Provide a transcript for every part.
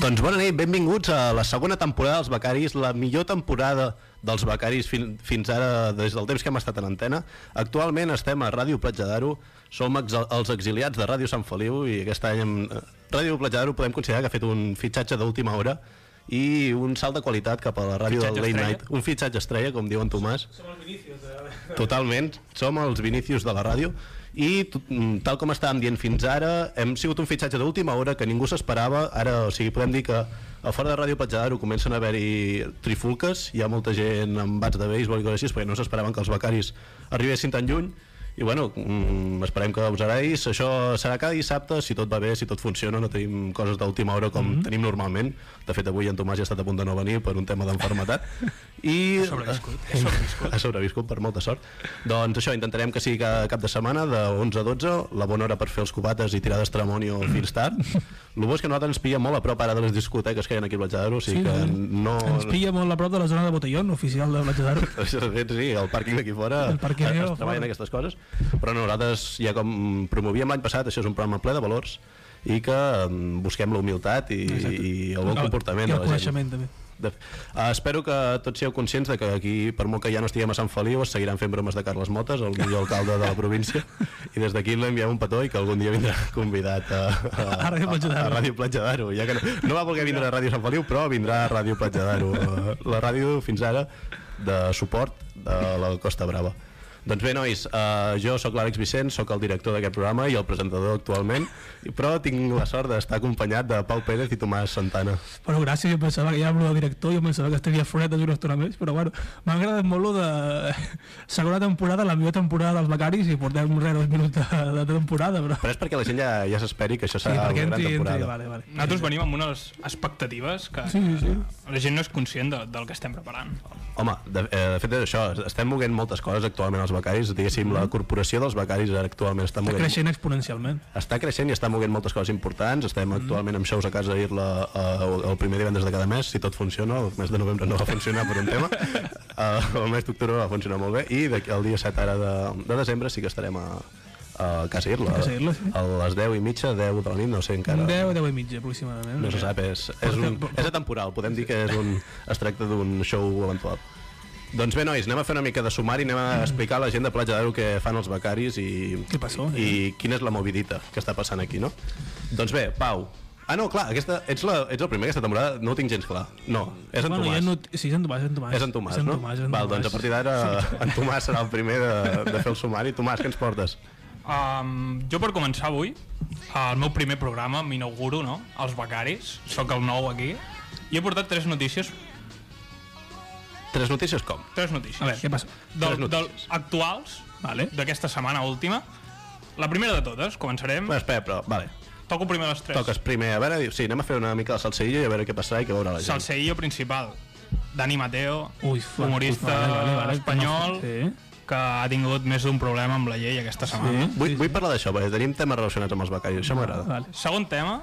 Doncs bona nit, benvinguts a la segona temporada dels Becaris, la millor temporada dels Becaris fin, fins ara, des del temps que hem estat en antena. Actualment estem a Ràdio Platja d'Aro, som ex els exiliats de Ràdio Sant Feliu i aquest any hem, eh, Ràdio Platja d'Aro podem considerar que ha fet un fitxatge d'última hora i un salt de qualitat cap a la ràdio del Fitxatge Late estrella. Night. Un fitxatge estrella, com diu en Tomàs. Som els Vinícius de... Totalment, som els Vinícius de la ràdio i t- mm, tal com estàvem dient fins ara hem sigut un fitxatge d'última hora que ningú s'esperava, ara o sigui, podem dir que a fora de Ràdio Platja d'Aro comencen a haver-hi trifulques, hi ha molta gent amb bats de béisbol i coses així, perquè no s'esperaven que els becaris arribessin tan lluny i bueno, mm, esperem que us agraïs això serà cada dissabte, si tot va bé si tot funciona, no tenim coses d'última hora com Mm-hmm. mm -hmm. tenim normalment, de fet avui en Tomàs ja ha estat a punt de no venir per un tema d'enfermetat i sobreviscut. ha sobreviscut. ha sobreviscut per molta sort doncs això, intentarem que sigui cada cap de setmana de 11 a 12, la bona hora per fer els cubates i tirar d'estramonio Mm-hmm. fins tard el bo és que a nosaltres ens pilla molt a prop ara de les discoteques que hi ha aquí a Platjadero o sigui sí, Sí, que sí. no... Ens pilla molt a prop de la zona de Botellón, oficial de Platja d'Aro. Això de fet, sí, el pàrquing d'aquí fora El pàrquing es, d'aquí es fora. treballen aquestes coses però nosaltres ja com promovíem l'any passat això és un programa ple de valors i que mm, busquem la humilitat i, i el bon comportament de Doncs, I el la gent coneixement, també. de... Uh, espero que tots sieu conscients de que aquí, per molt que ja no estiguem a Sant Feliu, es seguiran fent bromes de Carles Motes, el millor alcalde de la província, i des d'aquí l'enviem un petó i que algun dia vindrà convidat a, a, A Ràdio Platja d'Aro. a Ràdio Platja d'Aro. Ja que no, no va voler vindre a Ràdio Sant Feliu, però vindrà a Ràdio Platja d'Aro, eh, la ràdio fins ara de suport de la Costa Brava. Doncs bé, nois, uh, jo sóc l'Àlex Vicent, sóc el director d'aquest programa i el presentador actualment, però tinc la sort d'estar acompanyat de Pau Pérez i Tomàs Santana. Bueno, gràcies, jo pensava que ja amb el director, jo pensava que estaria forat d'una estona més, però bueno, m'ha agradat molt lo de segona temporada, la millor temporada dels becaris, i portem re dos minuts de, de temporada, però... Però és perquè la gent ja, ja s'esperi que això Sí, serà perquè una gran entri, entri, temporada. vale, vale. Nosaltres venim amb unes expectatives que Sí, sí, sí. la gent no és conscient de, del que estem preparant. Home, de, eh, de fet és això, estem moguent moltes coses actualment els becaris, diguéssim, la corporació dels becaris ara actualment està moguent... Mm-hmm. Creixent exponencialment. Està creixent i està moguent moltes coses importants, estem Mm-hmm. actualment amb shows a casa dir-la eh, el primer divendres de cada mes, si tot funciona, el mes de novembre no va funcionar per un tema, eh, el mes d'octubre va funcionar molt bé, i d'aquí el dia 7 ara de, de desembre sí que estarem a, a casa Irla, A Casa Irla, sí. a les 10 i mitja, 10 de la nit, no sé encara... Un 10 o 10 i mitja, aproximadament. No se sap, és, és, un, és atemporal, podem dir que és un, es tracta d'un show eventual. Doncs bé, nois, anem a fer una mica de sumari, anem a explicar a la gent de Platja d'Aro què fan els becaris i, Què passó, eh? i quina és la movidita que està passant aquí, no? Doncs bé, Pau. Ah, no, clar, aquesta, ets, la, ets el primer aquesta temporada, no ho tinc gens clar. No, és en bueno, Tomàs. Ja no, sí, és en Tomàs, és en Tomàs. És en Tomàs, és en no? Tomàs, és en Val, Tomàs. doncs a partir d'ara en Tomàs serà el primer de, de fer el sumari. Tomàs, què ens portes? Um, jo per començar avui, el meu primer programa, m'inauguro, no? Els becaris, sóc el nou aquí, i he portat tres notícies, Tres notícies com? tres notícies. A veure, què passa? Tres Del, del notícies. actuals, Vale. d'aquesta setmana última. La primera de totes, començarem. Bueno, espera, però, vale. Toco primer les tres. Toques primer, a veure, diu, sí, anem a fer una mica de salseïlla i a veure què passarà i què veurà la gent. Salseillo principal, Dani Mateo, Ui, fa- humorista vale, vale, vale. espanyol, Sí. que ha tingut més d'un problema amb la llei aquesta setmana. Vull, vull parlar d'això, perquè tenim temes relacionats amb els becaris, això m'agrada. Vale. Segon tema,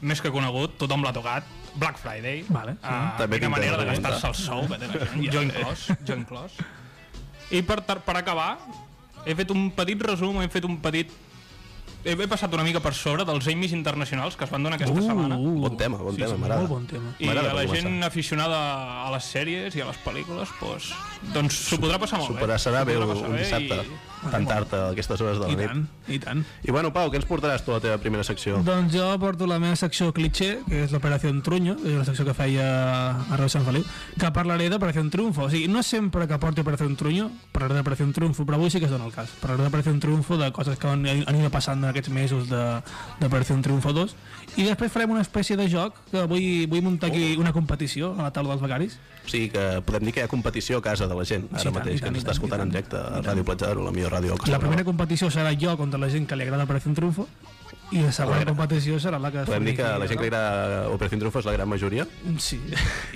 més que conegut, tothom l'ha tocat, Black Friday. Vale, sí. Ah, També quina tinc manera de temes a gastar-se el sou que té la gent, jo inclòs, jo inclòs. I per, tar- per acabar, he fet un petit resum, he fet un petit... He, he passat una mica per sobre dels Emmys internacionals que es van donar aquesta Uh, setmana. Bon tema, bon sí, tema, sí, m'agrada. Molt bon tema. I a Uh, M'agrada la per gent començar. aficionada a les sèries i a les pel·lícules, doncs, doncs s'ho podrà passar molt S'ho bé. passarà bé S'ho un, podrà passar un bé dissabte, i- cantar-te a aquestes hores de I la tant, nit. i tant. I bueno, Pau, què ens portaràs tu a la teva primera secció? Doncs jo porto la meva secció cliché, que és l'Operació Truño, que és una secció que feia a Reu Sant Feliu, que parlaré d'Operació Triunfo. O sigui, no sempre que porti Operació Truño parlaré d'Operació Triunfo, però avui sí que es dona el cas. Parlaré d'Operació Triunfo, de coses que han, han ido passant en aquests mesos de- d'Operació Triunfo 2. I després farem una espècie de joc, que vull, vull muntar aquí Oh. una competició a la taula dels becaris. O sigui que podem dir que hi ha competició a casa de la gent, Sí, ara tant, i mateix, que tant, ens i està tant, escoltant i en tant. directe a Ràdio Platja d'Aro, la millor ràdio del La Costa primera Brava. competició serà jo contra la gent que li agrada Operació Triunfo, i la segona competició serà la que... Podem dir que la gent que li agrada... agrada Operació Triunfo és la gran majoria, Sí.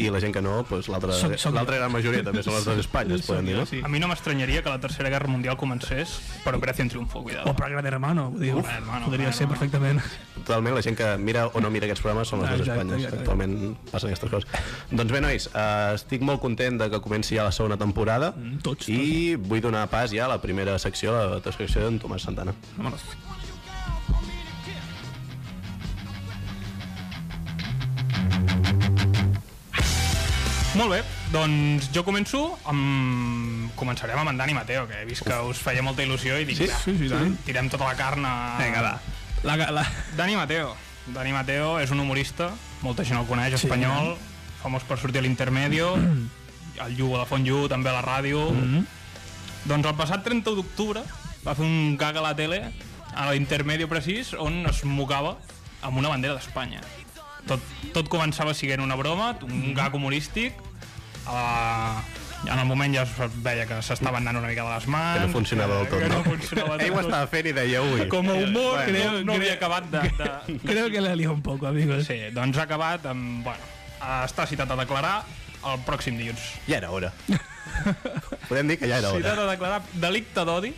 i la gent que no, doncs l'altra Som- som l'altra gran majoria també són les de Espanya, es podem dir, no? A mi no m'estranyaria que la Tercera Guerra Mundial comencés per Operació Triunfo, O cuidado. per Gran Hermano, vull dir, uf, Gran Hermano, podria Gran ser Hermano. perfectament. Totalment, la gent que mira o no mira aquests programes són les dues Ah, Exacte, Espanyes, que exacte. actualment passen aquestes coses. doncs bé, nois, eh, estic molt content de que comenci ja la segona temporada Mm, tots, i vull donar pas ja a la primera secció, a la teva secció d'en Tomàs Santana. Vámonos. Where you go, want me to kiss. Molt bé, doncs jo començo amb... Començarem amb en Dani Mateo, que he vist que us feia molta il·lusió i dic, Sí, "Va, sí, sí, tant. tirem tota la carn a... Vinga, va. La, la... Dani Mateo. Dani Mateo és un humorista, molta gent el coneix, Sí. espanyol, famós per sortir a l'Intermedio, el Yu, a la Font Yu, també a la ràdio... Doncs el passat 30 d'octubre va fer un gag a la tele, a l'Intermedio precís, on es mocava amb una bandera d'Espanya. Tot, tot començava siguent una broma, un gag humorístic, a la... En el moment ja es veia que s'estaven anant una mica de les mans... Que no funcionava del tot, que no? no funcionava del Ell ho tot. estava fent i deia, ui. Com a humor, Bueno, creo, no, no havia acabat de, de... Creo que la lió un poco, amigos. Sí, doncs ha acabat amb... Bueno, està citat a declarar el pròxim dilluns. Ja era hora. Podem dir que ja era hora. Citat a declarar delicte d'odi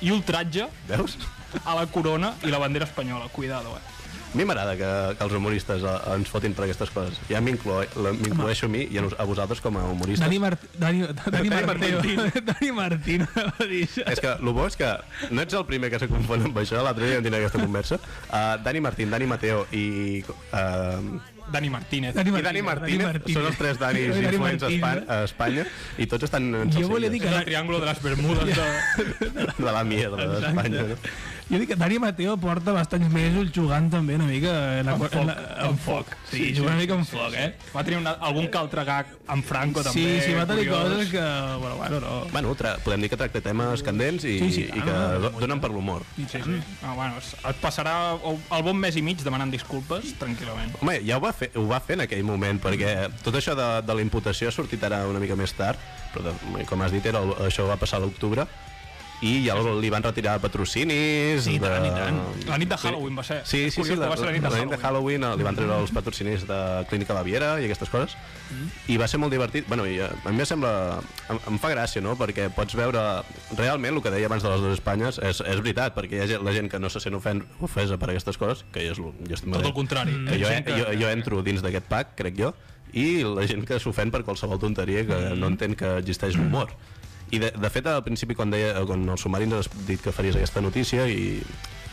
i ultratge Veus? a la corona i la bandera espanyola. Cuidado, eh? A mi m'agrada que, que els humoristes eh, ens fotin per aquestes coses. Ja m'inclo- la- m'incloeixo a mi i a, nos- a vosaltres com a humoristes. Dani, Mart Dani, Dani, Dani Martino. Dani Martino. És que el bo és que no ets el primer que se confon amb això, l'altre dia vam tenir aquesta conversa. Uh, Dani Martín, Dani Mateo i... Uh, Dani Martínez. Dani i Dani Martínez, són els tres Danis Dani influents a Espa- Martínez. a Espanya i tots estan en Jo volia dir És que... el triangle de les Bermudes de... de la mierda d'Espanya. no? Jo dic que Dani Mateo porta bastants mesos jugant també una mica... En, la, en, la, en foc. Sí, sí jugant una mica en foc, eh? Va tenir una, algun que altre gag amb Franco, també. Sí, sí, va tenir curiós. coses que... Bueno, bueno, no. Bueno, tra podem dir que tracta temes candents i, Sí, sí, i que ah, do- donen per l'humor. Sí, sí. Ah, bueno, es, es passarà el el bon mes i mig demanant disculpes, tranquil·lament. Home, ja ho va, fer, ho va fer en aquell moment, perquè tot això de, de la imputació ha sortit ara una mica més tard, però de, com has dit, era, el- això va passar a l'octubre, i ja el- li van retirar patrocinis... Sí, de... La nit de Halloween va ser. Sí, És sí, sí, curiós que la, va ser la nit de la nit de Halloween. Halloween eh, li van treure els patrocinis de Clínica Baviera i aquestes coses Mm. i va ser molt divertit bueno, i eh, a mi em sembla, em, em fa gràcia no? perquè pots veure, realment el que deia abans de les dues Espanyes és, és veritat perquè hi ha gent, la gent que no se sent ofen, ofesa per aquestes coses, que jo, és l- jo estic Tot el contrari. eh. que jo, Gent que- jo, jo entro dins d'aquest pack, crec jo, i la gent que s'ofèn per qualsevol tonteria que no entén que existeix l'humor. I de, de fet, al principi, quan, deia, quan el sumari ens has dit que faries aquesta notícia, i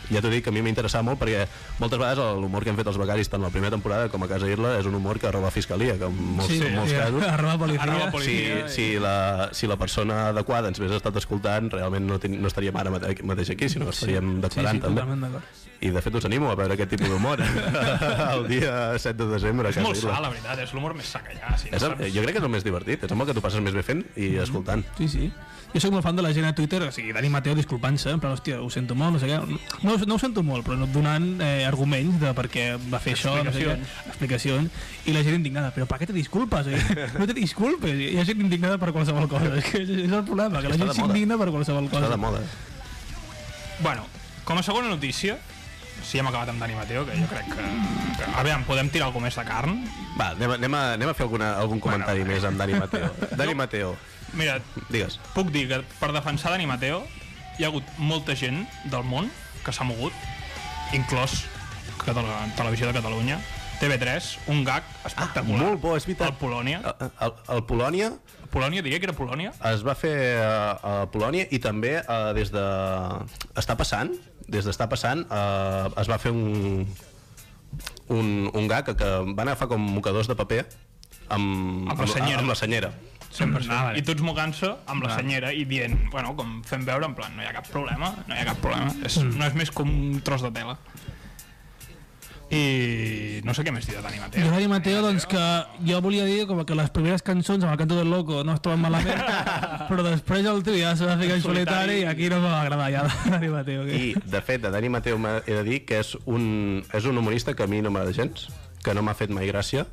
ja t'ho dic, que a mi m'interessava molt, perquè moltes vegades l'humor que han fet els becaris, tant la primera temporada com a Casa Irla, és un humor que roba fiscalia, que en molts, sí, molts sí, casos... Arroba policia. Arroba policia. Si, si, la, si la persona adequada ens hagués estat escoltant, realment no, ten, no estaríem ara mate- mateix aquí, sinó que estaríem Sí, declarant sí, també. totalment d'acord. I de fet us animo a veure aquest tipus d'humor eh? el dia 7 de desembre. És molt sa, la veritat, eh? és l'humor més sa que hi ha. Si no És el, eh, Mm. saps. jo crec que és el més divertit, és el que tu passes més bé fent i escoltant. Sí, sí. Jo soc molt fan de la gent a Twitter, o sigui, Dani Mateo disculpant-se, però hòstia, ho sento molt, no sé què. No, no ho sento molt, però no donant eh, arguments de per què va fer això, no sé què, explicacions, i la gent indignada, però per què te disculpes? Eh? No te disculpes, hi ha gent indignada per qualsevol cosa, és, que és, és el problema, Està que la gent de moda. s'indigna per qualsevol Està cosa. de moda. Bueno, com a segona notícia, si hem acabat amb Dani Mateo, que jo crec que... que a veure, podem tirar alguna més de carn? Va, anem, a- anem, a, anem a fer alguna, algun comentari més amb Dani Mateo. Dani Mateo, Mira, digues. puc dir que per defensar Dani Mateo hi ha hagut molta gent del món que s'ha mogut, inclòs Català, Televisió de Catalunya, TV3, un gag espectacular. Ah, Molt bo, Ah. és Al veritat. Polònia. El, el, el Polònia Polònia, diria que era Polònia? es va fer a, a Polònia i també eh, des de... Està passant, des d'està passant, eh, es va fer un, un, un gag que van agafar com mocadors de paper amb, Amb la senyera. Amb la senyera. 100%. Mm, Ah, I tots mogant-se amb la senyera i dient, bueno, com fem veure, en plan, no hi ha cap problema, no hi ha cap problema. És, Mm. no és més com un tros de tela. I no sé què més dir de Dani Jo Mateo. Dani Mateo, doncs que jo volia dir com que les primeres cançons amb el canto del loco no es troben malament, però després el tio ja se va ficar en solitari i aquí no m'ha agradar ja Dani Mateo. Que... I, de fet, de Dani Mateu m'ha- he de dir que és un, és un humorista que a mi no m'agrada gens, que no m'ha fet mai gràcia,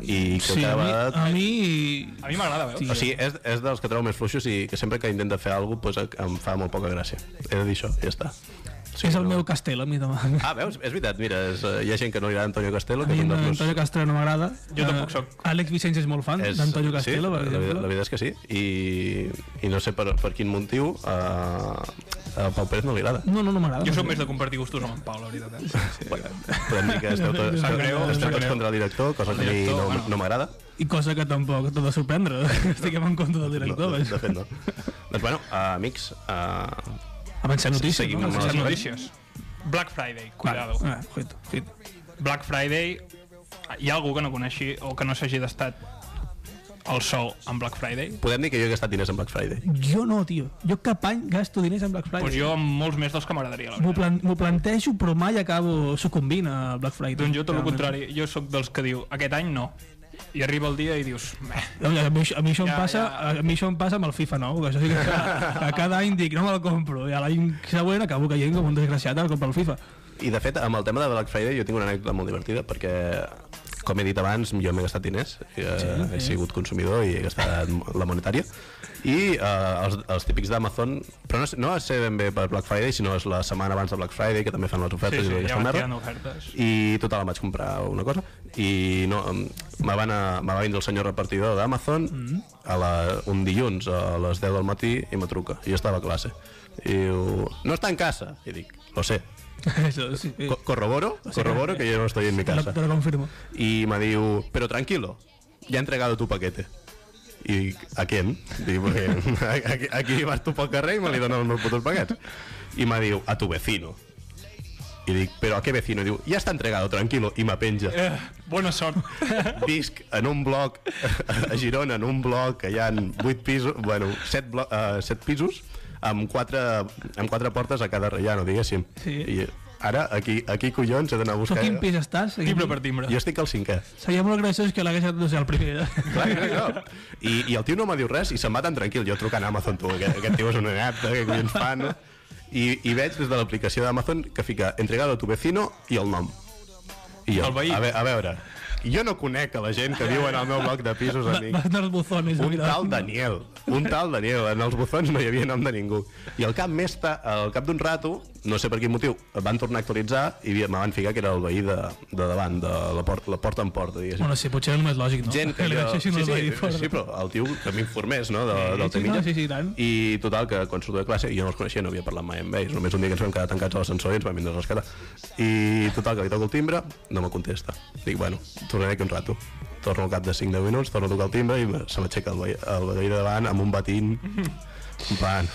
i que Sí, cada a mi, vegada... a mi A mi m'agrada, veus? O sigui, és, és dels que trobo més fluixos i que sempre que intenta fer alguna cosa pues, em fa molt poca gràcia. He de dir això, ja està. Sí, és el meu castell, a mi demà. Ah, veus? És veritat, mira, és, eh, hi ha gent que no li agrada Antonio Castelo, A que mi és un dels meus... Antonio Castelo no m'agrada. Jo tampoc Eh, soc. Àlex Vicenç és molt fan És- d'Antonio sí, la, Castelo, per veritat- la exemple. veritat és que sí, i, i no sé per, per quin motiu eh, a Pau Pérez no li agrada. No, no, no m'agrada. Jo no sóc sé. més de compartir gustos amb en Pau, la veritat. Eh? Bueno, podem dir que esteu, to Sap greu, esteu, sap tots greu. contra el director, cosa que a mi director, no, bueno. no m'agrada. I cosa que tampoc t'ha de sorprendre. Estiguem en contra del No, director. de, de vaja. fet, no. doncs, bueno, eh, amics, eh, Avançar notícies. seguim no? amb Avançar Les Sí. notícies. Black Friday, cuidado. Vale, ah, cuidado, cuidado. Black Friday, hi ha algú que no coneixi o que no s'hagi d'estat el sou en Black Friday. Podem dir que jo he gastat diners en Black Friday. Jo no, tio. Jo cap any gasto diners en Black Friday. Doncs jo amb molts més dels que m'agradaria, la M'ho veritat. plan m'ho plantejo, però mai acabo sucumbint a Black Friday. Doncs jo tot el contrari, jo sóc dels que diu aquest any no. I arriba el dia i dius, meh, No, a, mi, a, mi això ja, Ja, em passa, a mi això em passa amb el FIFA 9, que això sí que, que, cada any dic no me'l compro, i a l'any següent acabo caient com un desgraciat al comprar el FIFA. I de fet, amb el tema de Black Friday jo tinc una anècdota molt divertida perquè com he dit abans, jo m'he gastat diners, eh, he sigut consumidor i he gastat la monetària. I eh, els, els típics d'Amazon, però no, és- no va ser ben bé per Black Friday, sinó és la setmana abans de Black Friday, que també fan les sí, ofertes i sí, ja aquesta van merda. tirant ofertes. i total, em vaig comprar una cosa i no, em- me, van a, me va vindre el senyor repartidor d'Amazon Mm-hmm. a la, un dilluns a les 10 del matí i me truca, i jo estava a classe i diu, no està en casa i dic, lo sé, Eso, sí, sí. Co- corroboro, corroboro que yo no estoy en mi Te lo, casa te lo confirmo. y me diu, pero tranquilo ya he entregado tu paquete i dic, a quién? Dic, "Perquè aquí, aquí vas tu pel carrer i me li donen els meus putos paquets i me diu, a tu vecino i dic, però a què vecino? I diu, ja està entregado, tranquilo, i me penja. Eh, bona sort. visc en un bloc a Girona, en un bloc que hi ha 8 pisos, bueno, 7, blo uh, 7 pisos amb quatre, amb quatre portes a cada rellano, diguéssim. Sí. I ara, aquí, aquí collons, he d'anar a Tu a buscar... quin pis estàs? Timbre per timbre. Jo estic al cinquè. Seria molt graciós que l'hagués no sé, el primer. eh? Clar, clar, clar. I, I el tio no m'ha dit res i se'n va tan tranquil. Jo trucant a Amazon, tu, aquest, aquest tio és un inapte, què collons fa, no? I, I veig des de l'aplicació d'Amazon que fica entregado a tu vecino i el nom. I jo, El veí. A, ve a veure, jo no conec a la gent que viu en el meu bloc de pisos, amic. Vas anar als buzones. a Un mirar. tal Daniel, un tal Daniel. En els bufons no hi havia nom de ningú. I al cap més ta, al cap d'un rato, no sé per quin motiu, van tornar a actualitzar i me van ficar que era el veí de, de davant, de la porta, la porta en porta, diguéssim. Bueno, sí, potser era el més lògic, no? Gent que Li jo... deixessin Sí, el veí sí, fora. sí, però el tio que m'informés, no?, de, del sí, Temilla. no, sí, sí, i tant. I total, que quan surto de classe, jo no els coneixia, no havia parlat mai amb ells, només un dia que ens vam quedar tancats a l'ascensor i ens vam vindre a rescatar. I total, que li toco el timbre, no me contesta. Dic, bueno, tornaré aquí un rato. Torno al cap de 5-10 minuts, torno a tocar el timbre i se m'aixeca el, veí- el veí de davant amb un batín. Mm-hmm. En plan,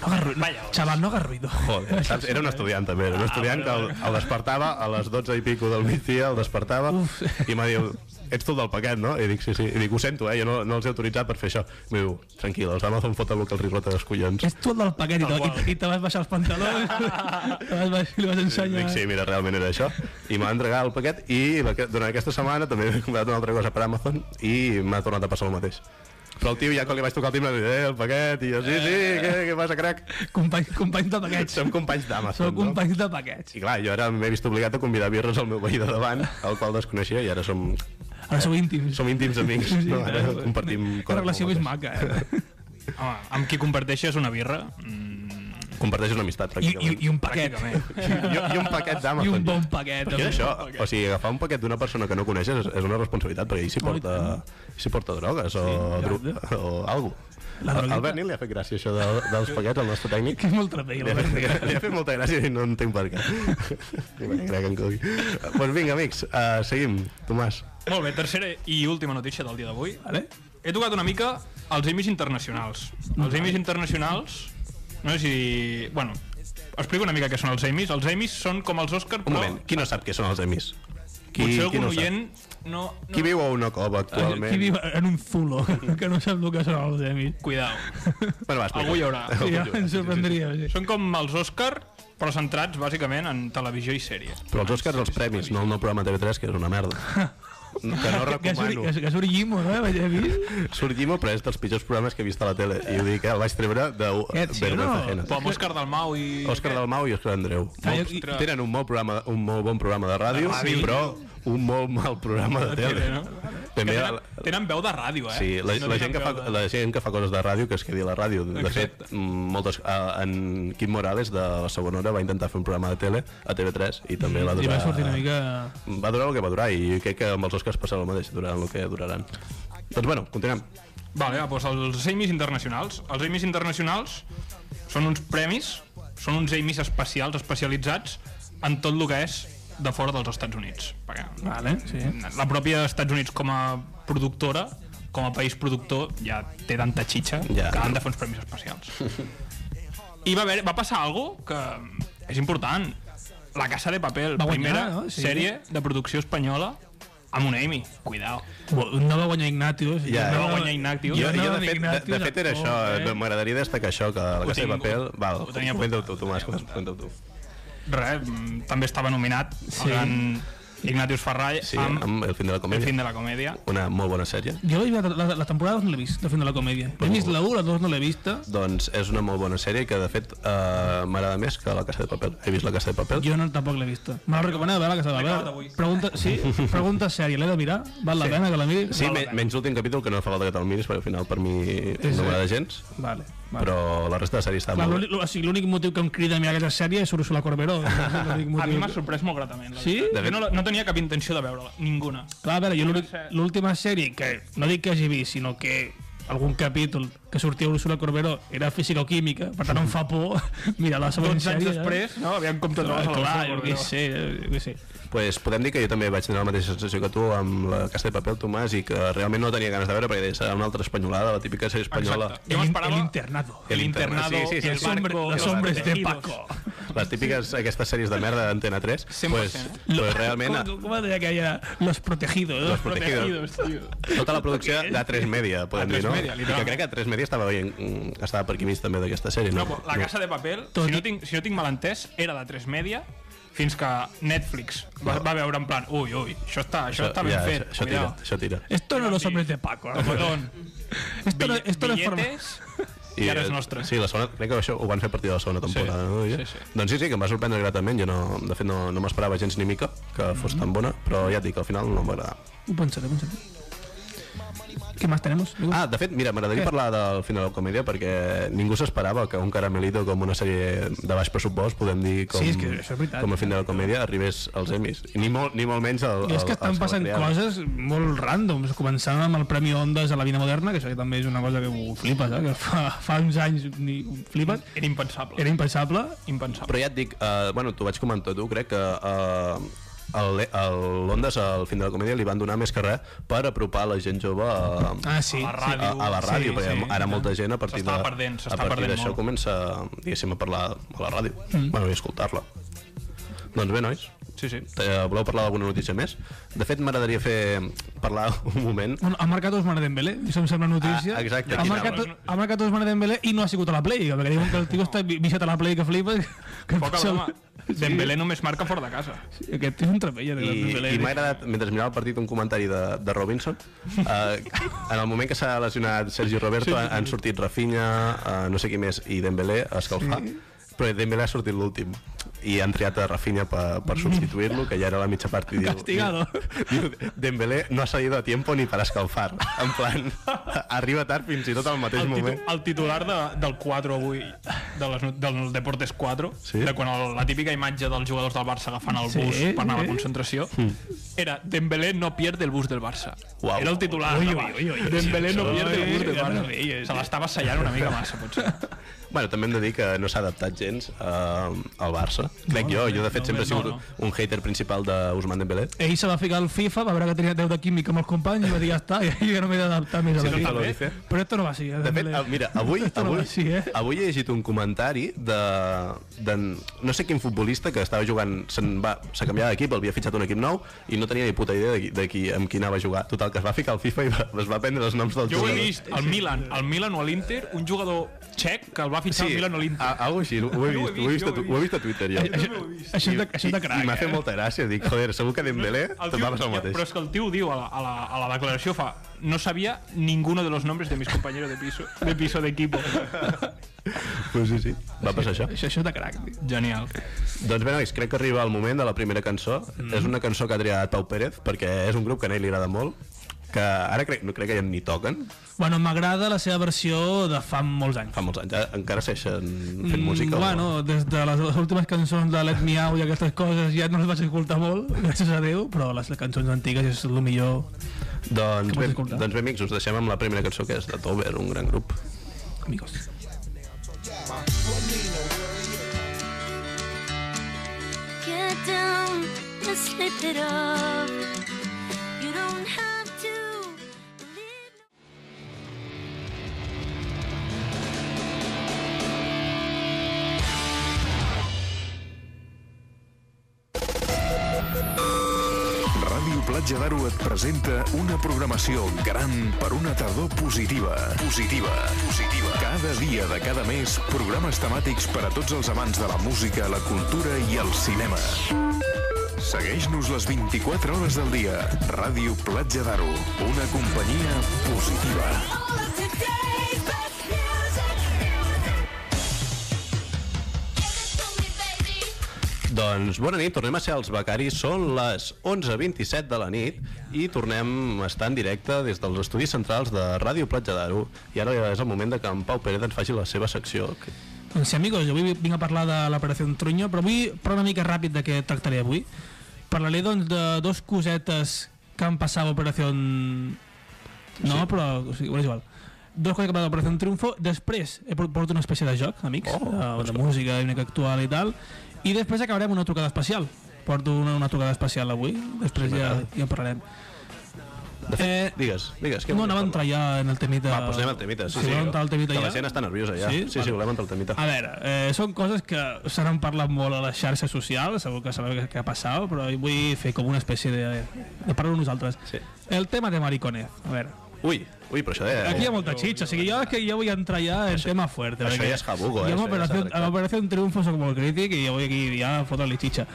No hagas ruido. Vaya, Chaval, no hagas ruido. joder, saps? Era un estudiant també, era un estudiant que el, el despertava a les 12 i pico del migdia, el despertava Uf. i m'ha dit, ets tu el del paquet, no? I dic, sí, sí, i dic, ho sento, eh? jo no, no els he autoritzat per fer això. I diu, tranquil, els d'Amazon foten el que els hi rota dels collons. És tu el del paquet i te, Tal qual. i, i te vas baixar els pantalons, te vas baixar, li vas ensenyar... Dic, sí, mira, realment era això. I m'ha entregat el paquet i la que- durant aquesta setmana també he comprat una altra cosa per Amazon i m'ha tornat a passar el mateix. Però el tio ja quan li vaig tocar el timbre, li eh, el paquet, i jo, sí, sí, què, què passa, crac? Company, companys de paquets. Som companys d'Amazon, Són companys de paquets. I clar, jo ara m'he vist obligat a convidar birres al meu veí de davant, el qual desconeixia, i ara som, Ara sou íntims. som íntims amics. Sí, No? Ara clar. compartim Que relació molt més maques. maca, eh? Home, amb qui comparteixes una birra? Mm, Comparteix una amistat, I, pràcticament. i, I un paquet. pràcticament. I, i un paquet I d'Amazon. un bon paquet. Què és això? O sigui, agafar un paquet d'una persona que no coneixes és, és una responsabilitat, perquè ell s'hi porta, s'hi porta drogues o, Sí, dro exacte. o algo. La Al droguita. Albert Nil li ha fet gràcia això de, dels paquets al nostre tècnic. Que és molt eh? trapell, Li ha, fet, li ha fet molta gràcia i no entenc per què. Crec que en cogui. Doncs pues vinga, amics, uh, seguim. Tomàs. Molt bé, tercera i última notícia del dia d'avui. Vale? He tocat una mica els Emmys internacionals. Els Emmys internacionals... No sé si... Bueno, explico una mica què són els Emmys. Els Emmys són com els Oscar, Un però moment, qui no sap què són els emis? Qui, potser qui algun no ho sap? oient no... no... Qui viu a una cova actualment? Qui viu en un zulo, que no sap el que són els emis. Cuidao. Bueno, va, explica. Algú hi haurà. Algú hi Ja haurà, sí, em sí, sorprendria. o sigui. Són com els Oscar, però centrats bàsicament en televisió i sèrie. sí. Però els Oscars, els premis, no el nou programa TV3, que és una merda. Que no Que surt- recomano. que- Que surt Guimo, eh? Vaja, vist? Sorgim, però és dels pitjors programes que he vist a la tele. I ho dic, eh, el vaig treure de Aquest sí o no? Verbefejena. Però amb Òscar Dalmau i... Òscar Dalmau i Òscar Andreu. Ah, Molt- i- Tenen un molt, programa, un molt bon programa de ràdio, De ràdio. però un molt mal programa de tele. no? Que També tenen, el- tenen veu de ràdio, eh? Sí, la, No la, tenen gent que fa, veu de- la gent que fa coses de ràdio que es quedi a la ràdio. De Exacte. fet, mm, moltes, a, en Quim Morales, de la segona hora, va intentar fer un programa de tele a TV3 i també va I durar... va sortir una mica... Va durar el que va durar i crec que amb els Oscars passarà el mateix, duraran el que duraran. Doncs bueno, continuem. Vale, va, doncs els Emmys internacionals. Els Emmys internacionals són uns premis, són uns Emmys especials, especialitzats en tot el que és de fora dels Estats Units. Perquè Vale, sí. la pròpia Estats Units com a productora, com a país productor, ja té tanta xitxa Ja. que han de fer uns premis especials. I va, haver, va passar algo que és important. La Casa de Paper, Va guanyar, primera no? Sí. sèrie de producció espanyola amb un Amy. Cuidao. No va guanyar Ignatius. Ja, No eh? va guanyar Ignatius. Jo, Jo jo anava de, fet, de, indignat, de tio, fet era de- això, oh, eh? m'agradaria destacar això, que la casa de tinc, paper... ho- Val, ho tenia comenta-ho apuntat, tu, Tomàs, comenta-ho tu. Res, mm, també estava nominat Sí. el gran Ignatius Ferrall Sí, amb, amb el fin de la El comèdia. fin de la comèdia. Una molt bona sèrie. Jo vaig veure la, la temporada 2 no l'he vist, de fin de la comèdia. He vist la 1, la 2 no l'he vista. Doncs és una molt bona sèrie que, de fet, eh, m'agrada més que La Casa de Papel. He vist La Casa de Papel. Jo no, tampoc l'he vista. Me la recomaneu, veure la que s'ha de acabat avui. veure. Pregunta, sí, pregunta sèria, l'he de mirar? Val la pena que la miri? Sí, Val la me, pena. menys l'últim capítol, que no fa falta que te'l miris, perquè al final per mi Sí, sí. no m'agrada gens, Vale, vale. però la resta de sèrie està Clar, molt bé. l'únic- o sigui, l'únic motiu que em crida a mirar aquesta sèrie és Ursula Corberó. L'únic A mi motiu m'ha que- sorprès molt gratament. la Sí? veritat. De fet- Jo no, no tenia cap intenció de veure-la, ninguna. Clar, a veure, jo l'únic- l'última sèrie que no dic que hagi vist, sinó que algun capítol que sortia Ursula Corberó era físico-química, per tant em fa por mirar la següent 12 anys sèrie. eh? després, no? Aviam com te'n Clar, trobes a la clar, jo Corberó. què sé, jo què sé. pues podem dir que jo també vaig tenir la mateixa sensació que tu amb la Casa de Papel, Tomàs, i que realment no tenia ganes de veure perquè deia, serà una altra espanyolada, la típica sèrie espanyola. El, Exacte. Jo in- el m'esperava internado. El internado, Sí, sí, sí, el sí. hombre- Barco, Los el hombres de Barco. Paco. Les típiques, aquestes sèries de merda d'Antena 3, 100%, pues, eh? pues realment Com, com deia que era? Los protegidos. Los protegidos. tio. tota la producció d'A3 Media, podem dir, A3 no? Media, I que literalment. crec que A3 Media estava, veient, mm, estava per aquí mig també d'aquesta sèrie, No, no? però la Casa de Papel, Tot i- si no, tinc, si no tinc mal entès, era de 3 Media fins que Netflix va, va veure en plan ui, ui, això està, això, està ben ja, fet, Això, això tira, cuidao. això tira. Esto no los hombres de Paco. ¿eh? Perdón. Esto no, esto no es forma... Billetes i ara és eh, nostre. Sí, la segona, crec que això ho van fer a partir de la segona temporada. Sí, no? sí, sí. Doncs sí, sí, que em va sorprendre gratament. Jo no, de fet, no, no m'esperava gens ni mica que fos tan bona, però ja et dic, al final no em va agradar. Un pensaré, un pensaré. ¿Qué más tenemos? Ah, de fet, mira, m'agradaria Què? parlar del final de la comèdia perquè ningú s'esperava que un caramelito com una sèrie de baix pressupost, podem dir, com, Sí, és que això és veritat. eh? com el final de la comèdia, arribés als Emmys. I ni molt, ni molt menys al... I és que al- estan al passant Salvatreal. coses molt randoms, començant amb el Premi Ondas a la vida moderna, que això també és una cosa que ho flipes, eh? que fa, fa uns anys ni ho flipes, Era impensable. era impensable. impensable. Però ja et dic, eh, bueno, t'ho vaig comentar tu, crec que eh, el, el l'Ondas al fin de la comèdia li van donar més que res per apropar la gent jove a, Ah, sí. A la a, ràdio. a la ràdio, Sí, sí, perquè sí, ara molta gent a partir S'està de- perdent, s'està a partir perdent d'això molt. comença, diguéssim, a parlar a la ràdio, mm. bueno, i a escoltar-la. Doncs bé, nois, Sí, sí. te- voleu parlar d'alguna notícia més? De fet, m'agradaria fer parlar un moment Bueno, ha marcat Osman Dembélé, això em sembla notícia. Ah, exacte, Ha quina marcat, hora. ha marcat Osman Dembélé i no ha sigut a la Play, perquè diuen que el tio està vi- viciat a la Play que flipes. Que Poca passa- broma. Dembélé només marca fora de casa. Sí, Aquest eh? tio és un trapella, I, i m'ha agradat, mentre mirava el partit, un comentari de, de Robinson. Uh, en el moment que s'ha lesionat Sergi Roberto, han, han sortit Rafinha, uh, no sé qui més, i Dembélé a escalfar. Sí. Però Dembélé ha sortit l'últim. I han triat a Rafinha per, per substituir-lo, que ja era la mitja part. i diu- Mm. Castigado. Diu, Dembélé no ha salido a tiempo ni para escalfar. En plan, arriba tard fins i tot al mateix El, titu moment. el titular de, del 4 avui, de les, no- del Deportes 4, Sí? sí? de quan el, la típica imatge dels jugadors del Barça agafant el Sí, bus per anar a eh? la concentració, era Dembélé no pierde el bus del Barça. Uau. Era el titular. Ui, home. ui, ui, ui. Dembélé no Això, pierde el bus del ja no Barça. veies, Se l'estava sellant una mica massa, potser. Bueno, també hem de dir que no s'ha adaptat gens eh, al Barça. Crec jo, jo de fet no, sempre he no, sigut un hater principal d'Ousmane Dembélé. Ell se va ficar al FIFA, va veure que tenia 10 de química amb els companys i va dir, ja està, jo no m'he d'adaptar més a Sí, la no FIFA. te lo dice. Però esto no va eh, així. De fet, ah, mira, avui, Esto no va avui, així, eh? avui he llegit un comentari de, de no sé quin futbolista que estava jugant, se'n va, s'ha canviat d'equip, havia fitxat un equip nou i no tenia ni puta idea de, qui- de qui, amb qui anava a jugar. Total, que es va ficar al FIFA i va, es va prendre els noms dels Jo ho he jugadors. vist al Milan, al Milan o a l'Inter, un jugador txec que el va fitxar al Milan o a l'Inter. a- algo així, ho he Jo ho he vist, ho he vist, vist, a jo ho he tu- ho he vist a Twitter, Ah, jo. Això és de, això és de crac. eh? I m'ha fet molta gràcia, dic, joder, segur que Dembélé te'n El tio- va passar el ja, mateix. Però és que el tio diu a la, a la, a la declaració fa no sabia ninguno de los nombres de mis compañeros de piso, de piso de equipo. Pues sí, sí, va passar això. Això, això és de crac. tio. Genial. Doncs bé, nois, crec que arriba el moment de la primera cançó. Mm. És una cançó que ha triat Pau Pérez, perquè és un grup que a ell li agrada molt, que ara crec, no crec que ja ni toquen, Bueno, m'agrada la seva versió de fa molts anys. fa molts anys, ja encara segueixen fent música. o- Mm, Bueno, des de les últimes cançons de Let Me Out i aquestes coses ja no les vaig escoltar molt, gràcies a Déu, però les cançons antigues és el millor. Doncs que bé, pots escoltar. doncs bé, amics, us deixem amb la primera cançó, que és de Tover, un gran grup. Amigos. Get down, just slip it up. You don't have to believe. Ràdio Pla Platja d'Aro et presenta una programació gran per una tardor positiva. Positiva. Positiva. Cada dia de cada mes, programes temàtics per a tots els amants de la música, la cultura i el cinema. Segueix-nos les 24 hores del dia. Ràdio Platja d'Aro. Una companyia positiva. Doncs bona nit, tornem a ser els becaris, són les 11.27 de la nit i tornem a estar en directe des dels estudis centrals de Ràdio Platja d'Aro i ara ja és el moment de que en Pau Pérez ens faci la seva secció. que- Doncs sí, amigos, jo avui vinc a parlar de l'operació Truño, però vull parlar una mica ràpid de què tractaré avui. Parlaré, doncs, de dos cosetes que han passat a l'operació... No, sí. però... O sigui, bueno, és igual. Dos coses que van a l'operació Triunfo. Després he por- porto una espècie de joc, amics, oh, de, de música, una mica actual i tal. I després acabarem una trucada especial. Porto una, una trucada especial avui, després ja, ja en parlarem. De fet, Eh, digues, digues. Què No, vols anava a parlar? entrar ja en el temita... Va, doncs anem al temita. Sí, sí, volem entrar Eh, al temita que ja. la gent està nerviosa ja. Sí? Sí, sí, Vale. volem entrar al temita. A veure, eh, són coses que se n'han parlat molt a les xarxes socials, segur que sabeu què ha passat, però hi vull fer com una espècie de... de parlar nosaltres. Sí. El tema de mariconez, a veure. Ui, ui, però això eh, de... Aquí hi ha molta xitxa, o sigui, jo, és que jo vull entrar ja en tema fuerte. això perquè ja és jabugo, eh, això Jo amb ja Operació- s'ha tractat. amb Operació Triunfo soc molt crític i jo vull aquí ja fotre-li xitxa.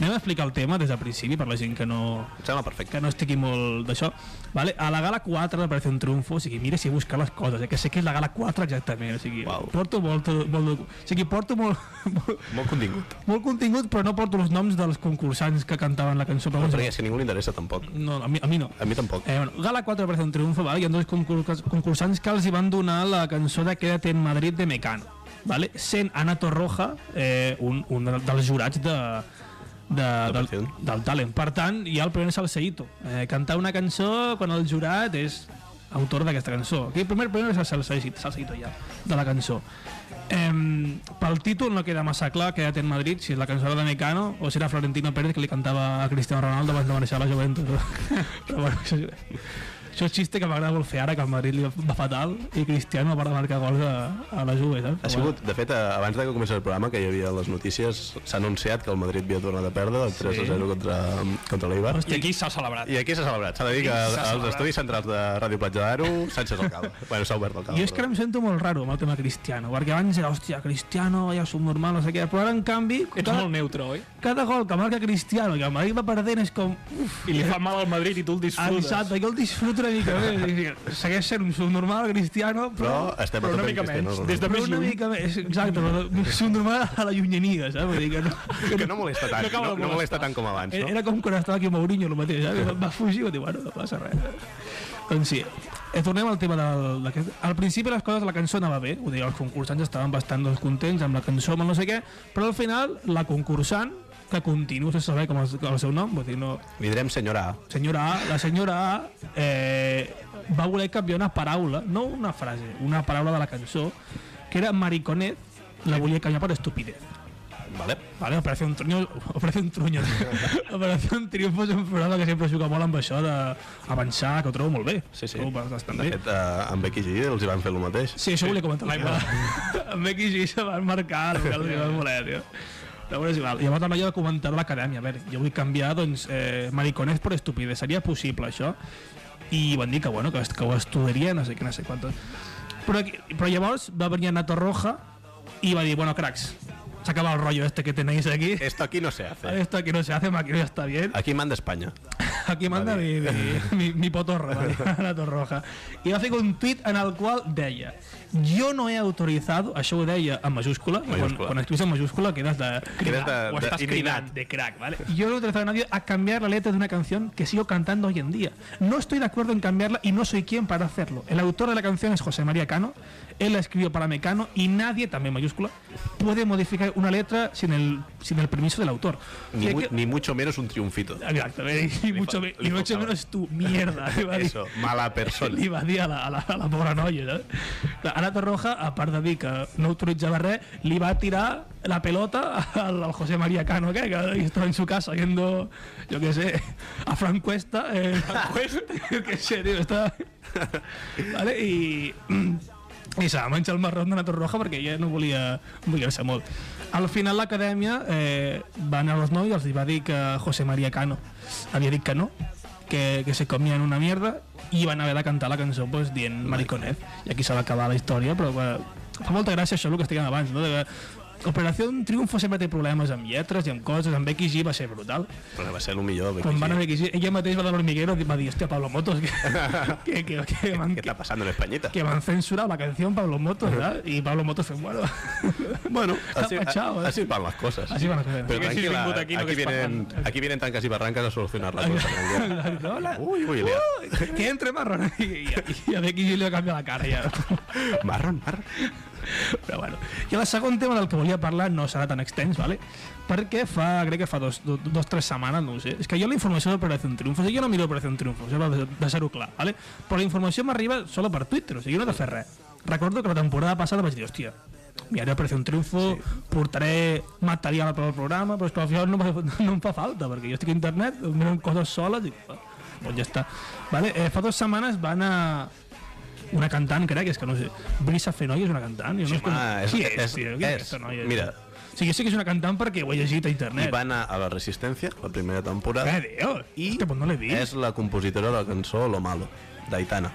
Anem a explicar el tema des del principi per la gent que no, Em sembla perfecte. que no estigui molt d'això. Vale? A la gala 4 apareix un triomfo, o sigui, mira si he buscat les coses, eh? que sé que és la gala 4 exactament, o sigui, Uau. porto molt, molt, docu- o sigui, porto molt, molt, Molt contingut. molt contingut, però no porto els noms dels concursants que cantaven la cançó. Però Perquè és que a ningú li interessa tampoc. no, a mi, a mi no. A mi tampoc. Doncs Eh, bueno, Gala 4 aparece un triunfo, ¿vale? Hi ha dos concurs- concursants que els hi van donar la cançó de Quédate en Madrid de Mecano, ¿vale? Sent Ana Torroja eh, un, un del- dels jurats de, de, del, Operación. del talent. Per tant, hi ha el primer Salseíto. Eh, cantar una cançó quan el jurat és autor d'aquesta cançó. Aquí el primer primer és el Salseíto, Salseíto ja, de la cançó. Eh, pel títol no queda massa clar quedat en Madrid si és la cançó de Mecano o si era Florentino Pérez que li cantava a Cristiano Ronaldo abans de marxar a la Juventus però bueno, això, això és xiste que m'agrada molt fer ara que el Madrid li va fatal i Cristiano va marcar gols a, a la Juve saps? Ha sigut, de fet, eh, abans de que comenci el programa, que hi havia les notícies, s'ha anunciat que el Madrid havia tornat a perdre el 3 0 contra, contra l'Eibar. I aquí s'ha celebrat. I aquí s'ha celebrat. S'ha de dir que S'ha els celebrat. estudis centrals de Ràdio Platja d'Aro, Sánchez Alcalde. bueno, s'ha obert l'alcalde. Jo és que ara em sento molt raro amb el tema Cristiano, perquè abans era, hòstia, Cristiano, ja subnormal, no sé què, però ara, en canvi, Ets cada, molt neutre, oi? cada gol que marca Cristiano i el Madrid va perdent és com... Uf, I li fa mal al Madrid i tu el disfrutes. Exacte, jo el disfruto una mica més. és a dir, Segueix sent un subnormal, Cristiano, Però però... estem Però a una tope mica amb Cristiano. menys. Ronaldo. Des de Però més una lluny. mica més, exacte, però subnormal a la llunyania, saps? Vull dir que no, Que no molesta tant, acaba no, de no molesta molestar. tant com abans, Era, no? era com quan estava aquí Mourinho, el mateix, eh? va fugir i va dir, bueno, no passa res. doncs sí, eh, tornem al tema del- d'aquest... Al principi les coses, la cançó anava bé, ho deia, els concursants estaven bastant doncs, contents amb la cançó, amb el no sé què, però al final la concursant, que continuo sense saber com és el seu nom, vull dir, no, Li direm senyora A. senyora A, la senyora A eh, va voler canviar una paraula, no una frase, una paraula de la cançó, que era mariconet, la volia canviar per estupidez. Vale? Vale, Operación Truño, Operación Truño, Operación Triunfo és un programa que sempre juga molt amb això d'avançar, que ho trobo molt bé. Sí, sí. Trobo bastant De bé. fet, eh, amb Becky G els hi van fer el mateix. Sí, això ho volia comentar. Amb Becky G se van marcar el que els hi va voler, tio. Però bueno, és igual. Llavors també jo de comentar l'acadèmia. A veure, jo vull canviar, doncs, eh, mariconets per estupidez. Seria possible, això? I van dir que, bueno, que, es- que ho estudiaria, no sé què, no sé quantos. Però, aquí, però llavors va venir Nato Roja i va dir, bueno, cracks, s'acaba el rollo este que tenéis aquí. Esto aquí no se hace. Esto aquí no se hace, maquillo ya está bien. Aquí manda Espanya. Aquí manda mi, mi, mi, mi potorra, ¿vale? la torroja. I va fer un tuit en el qual deia jo no he autoritzat, això ho deia en majúscula, quan, Majúscula. quan escrius en majúscula quedes de... Quedes de- o de estás indignat. crack, de crack, ¿vale? Yo no he autorizado a nadie a cambiar la letra de una canción que sigo cantando hoy en día. No estoy de acuerdo en cambiarla y no soy quien para hacerlo. El autor de la canción es José María Cano, él la escribió para Mecano y nadie, también mayúscula, puede modificar una letra sin el, sin el permiso del autor. O Ni, sea mu- que- ni mucho menos un triunfito. Exacto, y mucho, me- le y mucho faltaba. menos tu mierda. le va a dir- Eso, mala persona. Li va dir a la, a la, a la pobra noia, saps? La Ana Torroja, a part de dir que no autoritzava res, li va tirar la pelota al, al José María Cano, que, que estava en su casa viendo, yo qué sé, a Frank Cuesta. Eh, Frank Cuesta, yo qué sé, tío, está... Vale, i... I s'ha menjat el marró de Nato Roja perquè ja no volia mullar-se molt. Al final l'acadèmia eh, va anar als nois i els hi va dir que José María Cano havia dit que no que, que se comían una mierda i van haver de cantar la cançó pues, dient mariconet. I aquí s'ha d'acabar la història, però bueno, fa molta gràcia això el que estiguem abans, no? De que Operació Triunfo sempre té problemes amb lletres i amb coses, amb Becky G va ser brutal. Però va ser el millor. Becky Quan G. van a Becky G, ella mateix va anar a l'hormiguero i va dir, hòstia, Pablo Motos, que, que, que, que, van, ¿Qué que, está pasando en Españita? que van censurar la canción Pablo Motos, ¿verdad? Y Pablo Motos fue bueno. Bueno, Está así, fachado, ¿eh? así van las cosas. Así van las cosas. Pero Porque si tranquila, vingut aquí, aquí no que es vienen, parlant. aquí vienen tancas y barrancas a solucionar la cosa. tranquila. Hola. Uy, uy, Lea. que entre marrón y, y, i a Becky G li va canviar la cara ja. Marrón, marrón. però bueno i el segon tema del que volia parlar no serà tan extens vale? perquè fa, crec que fa dos, do- dos, tres setmanes no ho sé, és que jo la informació d'Operació Triunfo o sigui, jo no miro Operació Triunfo, això va de, de ser-ho clar vale? però la informació m'arriba solo per Twitter o sigui, jo no he de fer res recordo que la temporada passada vaig dir, hòstia miraré Operación Triunfo, portaré material per al programa, però és que al final no, me- no em fa falta, perquè jo estic a internet, em miren coses soles i... ah, Doncs ja està. Vale? Eh, fa dues setmanes va anar una cantant, crec, és que no sé, Brisa Fenoy és una cantant? Jo no Sí, sé com- home, és- Qui és, és- tio? Qui és- és aquesta noia? mira. O sigui, sé que és una cantant perquè ho he llegit a Y internet. van a, a la Resistencia, la primera temporada. Eh, Déu, Y hòstia, pues no l'he vist. es la compositora de la canción Lo Malo, d'Aitana.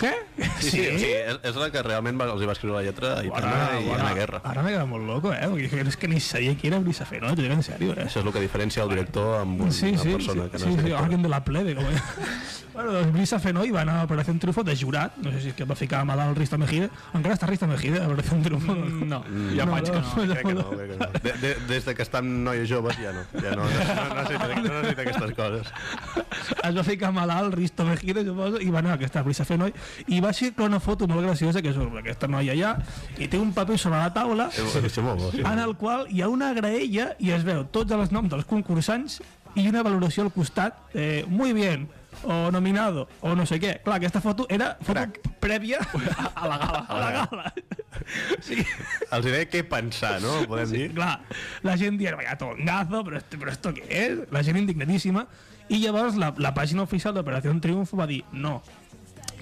Què? eh, Sí, sí, o sigui, és, és la que realment va, els hi va escriure la lletra a Aitana i Anna Guerra. Ara m'he quedat molt loco, eh? Perquè jo és que ni sabia qui era Brisa Fenoy, t'ho dic en sèrio, eh? Això és el que diferencia el director amb un, Sí, una sí, persona sí, que no sí, és sí, director. alguien de la plebe, com era. bueno, doncs Brisa Fenoy va anar a Operación Triunfo de jurat, no sé si és que va ficar malalt el Rista Mejide, encara està Rista Mejide a Operación Triunfo. Mm, No, ja faig que no. Crec que no, crec que no. De, de, des de que estan noies joves ja no. Ja no, no, no, necessita, no necessita aquestes coses. es va ficar malalt, Risto Mejide, suposo, i va anar a aquesta Brisa Fenoy, i va circular una foto molt graciosa, que surt aquesta noia allà, i té un paper sobre la taula, És, és molt bo. Sí. en el qual hi ha una graella i es veu tots els noms dels concursants i una valoració al costat, eh, muy bien, o nominado, o no sé què. Clar, aquesta foto era foto prèvia a, a la gala. A la gala. Sí, Els diré què pensar, no? Podem dir. clar, la gent dient, vaya tongazo, però, esto, però esto què és? La gent indignadíssima. I llavors la, la pàgina oficial d'Operació Triunfo va dir, no,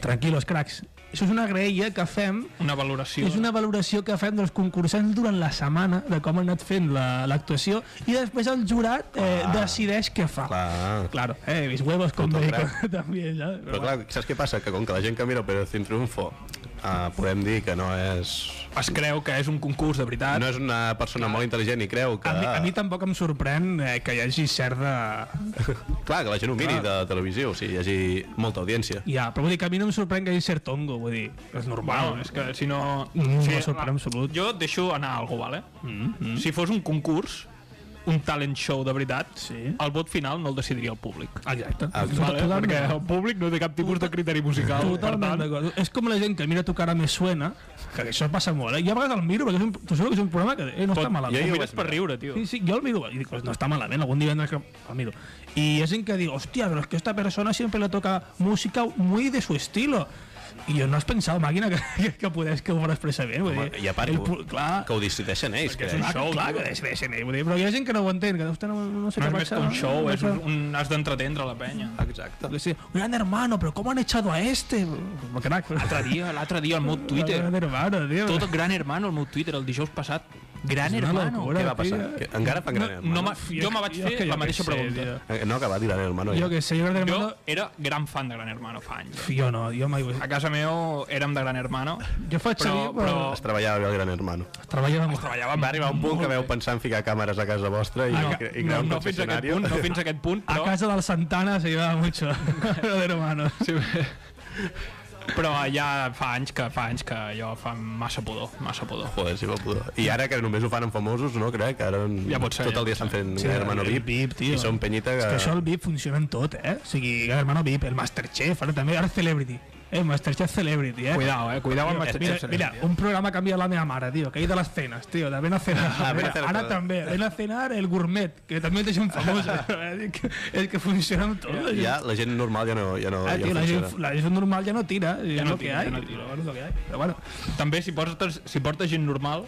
tranquilos, cracs, això és una graella que fem Una valoració. és una valoració que fem dels concursants durant la setmana, de com ha anat fent la- l'actuació, la, i després el jurat eh, decideix què fa. Clar. Claro, eh, mis huevos con Puto bacon, crack. també, ja. Però clar, saps què passa? Que com que la gent que mira Operación Triunfo eh, podem dir que no és... Es creu que és un concurs de veritat. No és una persona molt intel·ligent i creu que... a, mi, a mi tampoc em sorprèn eh, que hi hagi cert de... Clar, que la gent ho miri de televisió, o sigui, hi hagi molta audiència. Ja, però vull dir que a mi no em sorprèn que hi hagi cert tongo, vull dir, és normal. Bueno, és que si no... No, no me sorprèn en absolut. Jo deixo anar alguna cosa, vale? Mm -hmm. Si fos un concurs, un talent show de veritat, Sí. el vot final no el decidiria el públic. Exacte. Ah, Vale, Totalment. perquè el públic no té cap tipus de criteri musical. per Totalment tant, d'acord. És com la gent que mira tu cara me suena, que això passa molt, eh? Jo a vegades el miro, perquè és un, t'ho juro que és un programa que eh, no està ho malament. jo ho vaig mires per riure, tio. Sí, sí, jo el miro i dic, pues no està malament, algun divendres que el miro. I és gent que diu, hòstia, però és que esta persona sempre le toca música muy de su estilo. I jo no has pensat, màquina, que, que, que podés que ho faràs expressament. Vull dir, Home, I a part, el, que, pu- clar, que ho decideixen ells, és un crec. show, clar, que decideixen ells. Vull dir, però hi ha gent que no ho entén, que "Hosta, no, no sé no què és més passa. que un show, no, és un, un has d'entretendre la penya. Exacte. Sí, gran hermano, però com han echado a este? Crac. L'altre dia, l'altre dia, al meu Twitter, Gran hermano, tio. tot el gran hermano al meu Twitter, el dijous passat. Gran És una hermano. locura. Què va passar? Tia. Que encara fan gran No, hermano? me- jo me vaig Jo que jo fer la què mateixa sé, pregunta. Eh, No ha acabat gran hermano. tio. ja. Jo que sé, jo gran hermano... Jo era gran fan de Gran Hermano fa anys. Jo no, jo mai ho he A casa meu érem de Gran Hermano. Jo faig Però- servir, però- Es treballava bé el gran hermano. Treballa amb... Treballàvem Va arribar un punt que veu pensar en ficar càmeres a casa vostra i, no, i, cre- i crear no, un no fins a aquest concessionari. punt, no fins a aquest punt, A però, casa del Santana se llevaba mucho. Lo de hermanos. Eh. però ja fa anys que fa anys que jo fa massa pudor, massa pudor. Joder, si va poder. I ara que només ho fan amb famosos, no crec? que Ara Ja pot ser, tot ja el dia estan fent gran hermano el VIP, VIP, tio. i són penyita que... És que això el VIP funciona en tot, eh? O sigui, Gran Hermano VIP, el Masterchef, ara també, ara Celebrity. Eh, Masterchef Celebrity, eh? Cuidao, eh? Cuidao amb Mira, Masterchef. mira, un programa cambia la meva mare, tío, que hay de las cenas, tío, de ven a cenar. Ah, ven a cenar. Ahora también, ven a cenar el gourmet, que también te son famosos. Es que, es que funcionan todos. Ja, la gent normal ja no, ja no, Ah, ja tío, no la, funciona. gent, la gent normal ja no tira, ja no no tira, ja tira, no tira. Però bueno, També si portes, si portes gent normal,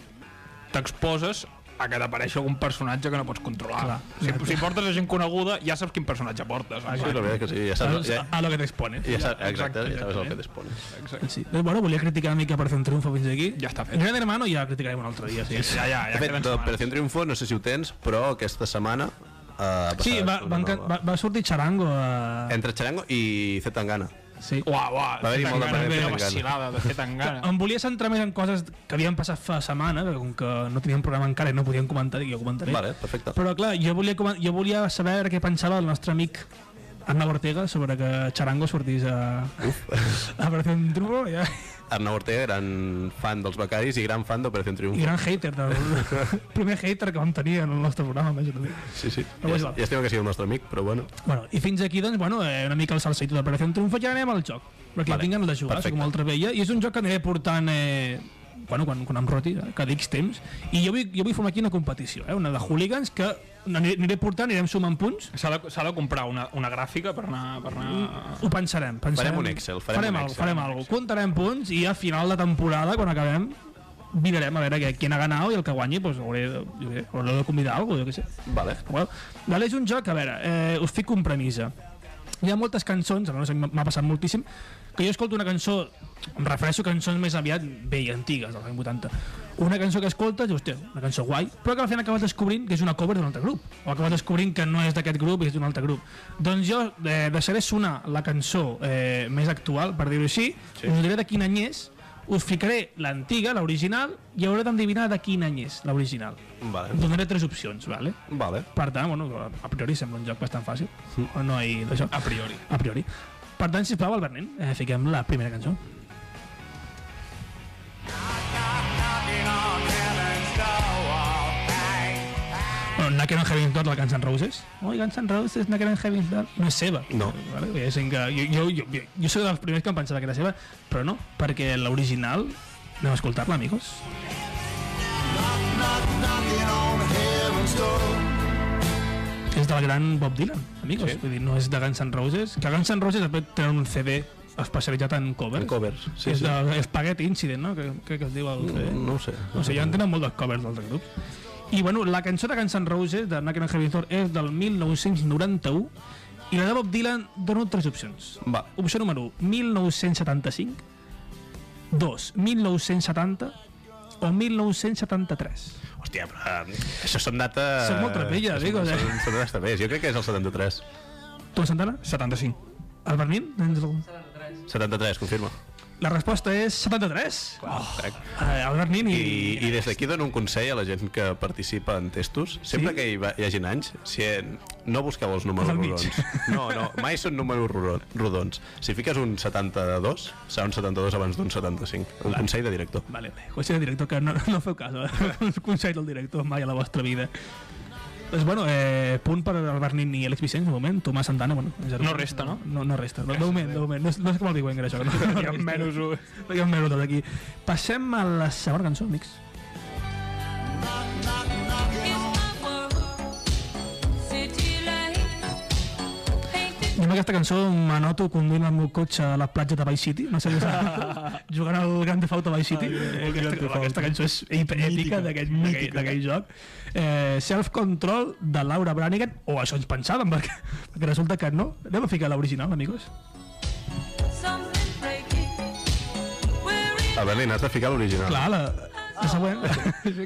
t'exposes a que t'apareixi algun personatge que no pots controlar. Clar, si, exacte. si portes a gent coneguda, ja saps quin personatge portes. Sí, la veritat que sí, ja saps, ja, pues a, a lo que t'expones. ja saps, exacte, ja sabes el que exactament. t'expones. Sí. Doncs, Pues bueno, volia criticar una mica per fer un triomfo fins aquí. Ja està fet. Gran Hermano ja criticarem un altre dia. Sí. Ja, ja, ja De fet, queden setmanes. d'Operació Triunfo, no sé si ho tens, però aquesta setmana eh, a passar Sí, va, sobre van, nova. va, va sortir Charango a... entre Charango i Zetangana. Sí. Uah, uah, Va haver-hi fer molt de tangana, paper, quina tangana. vacilada, de fer tangana. Em volia centrar més en coses que havien passat fa setmana, perquè com que no teníem programa encara i no podíem comentar, dic, jo comentaré. Vale, perfecte. Però clar, jo volia, comen- jo volia saber què pensava el nostre amic Arnau Ortega sobre que Charango sortís a... a Operació un Truco ja. Arnau Ortega, gran fan dels becaris i gran fan d'Operació i Triunfo. gran hater del primer hater que vam tenir en el nostre programa imagina't. Sí, sí. No Ja, és val. ja estima que sigui el nostre amic, però bueno. Bueno, i fins aquí doncs, bueno, eh, una mica el salseito d'Operació un Triunfo ja anem al joc Vale, perquè vale. tinc ganes de jugar, perfecte. soc molt trebella i és un joc que aniré portant eh, bueno, quan, quan em roti, eh, cada X temps i jo vull, jo vull formar aquí una competició eh, una de hooligans que aniré, aniré portant anirem sumant punts S'ha de, s'ha de comprar una, una gràfica per anar... Per anar... ho pensarem, pensarem. Farem un Excel, farem un algo, Excel. farem alguna cosa. Comptarem punts i a final de temporada, quan acabem, mirarem a veure què, qui ha ganat i el que guanyi, doncs, hauré, de- jo què sé, hauré de convidar a algú, jo què sé. Vale. Well, vale, és un joc, a veure, eh, us fico un premissa. Hi ha moltes cançons, almenys a mi m'ha passat moltíssim, que jo escolto una cançó, em refereixo a cançons més aviat velles, antigues, dels anys 80. Una cançó que escoltes, i, hòstia, una cançó guai, però que al final acabes descobrint que és una cover d'un altre grup, o acabes descobrint que no és d'aquest grup i és d'un altre grup. Doncs jo eh, deixaré sonar la cançó eh, més actual, per dir-ho així, sí. us diré de quin any és, us ficaré l'antiga, l'original, i hauré d'endevinar de quin any és l'original. Vale. Donaré tres opcions, vale? Vale. Per tant, bueno, a priori sembla un joc bastant fàcil. Sí. O no hi... Això. A priori. A priori. Per tant, sisplau, Albert Nen, eh, fiquem la primera cançó. Bueno, Naked on Heaven's Door, la Guns N' Roses. Oi, Guns N' Roses, Naked on Heaven's Door. No és seva. No. Vale? Hi ha gent que... Jo, jo, jo, jo soc dels primers que em pensava que era seva, però no, perquè l'original... Anem a escoltar-la, amigos. És del gran Bob Dylan, amigos. Sí. Vull dir, no és de Guns N' Roses. Que Guns N' Roses després tenen un CD especialitzat en covers. En covers, sí, és sí. de Spaghetti Incident, no? Que, crec que es diu el CD. No ho sé. O sigui, ja en tenen molt dels covers d'altres grups. I, bueno, la cançó de Guns N' Roses, de Naked and Heavy Thor, és del 1991 i la de Bob Dylan dona tres opcions. Va. Opció número 1, 1975, 2, 1970 o 1973. Hòstia, però eh, això són dates... Són molt trapelles, Són- amigos, eh? Són, són dates trapelles. Jo crec que és el 73. Tu, Santana? 75. El Bernin? Tens algun? 73, confirma. La resposta és 73. Oh. Eh, el Bernin i... I, I des d'aquí dono un consell a la gent que participa en testos. Sempre Sí? sí? que hi, va, hi hagin anys, si eh, no busqueu els números Del mig. rodons. No, no, mai són números rodon- rodons. Si fiques un 72, serà un 72 abans d'un 75. Un consell de director. Vale, vale. Consell del director, que no, no feu cas. eh? No us Consell del director mai a la vostra vida. Doncs, bueno, eh, punt per al Bernin i Alex Vicenç, de moment. Tomàs Santana, bueno... zero. No resta, no? No, no resta. No, de moment, de moment. No és, no és com el Big Bang, això. No, no Hi ha resta. menys un. Hi ha un menys tot aquí. Passem a la segona cançó, amics. Jo amb aquesta cançó m'anoto conduint el meu cotxe a la platja de Vice City, no sé què jugant al Grand Theft Auto Vice City. Eh, aquesta, aquesta cançó és ep- èpica d'aquest- d'aquell d'aquell joc. Eh, Self-Control de Laura Branigan, o això ens pensàvem, perquè, perquè resulta que no. Anem a ficar l'original, amigos. A Berlín, has de ficar l'original. Clar, la, la següent.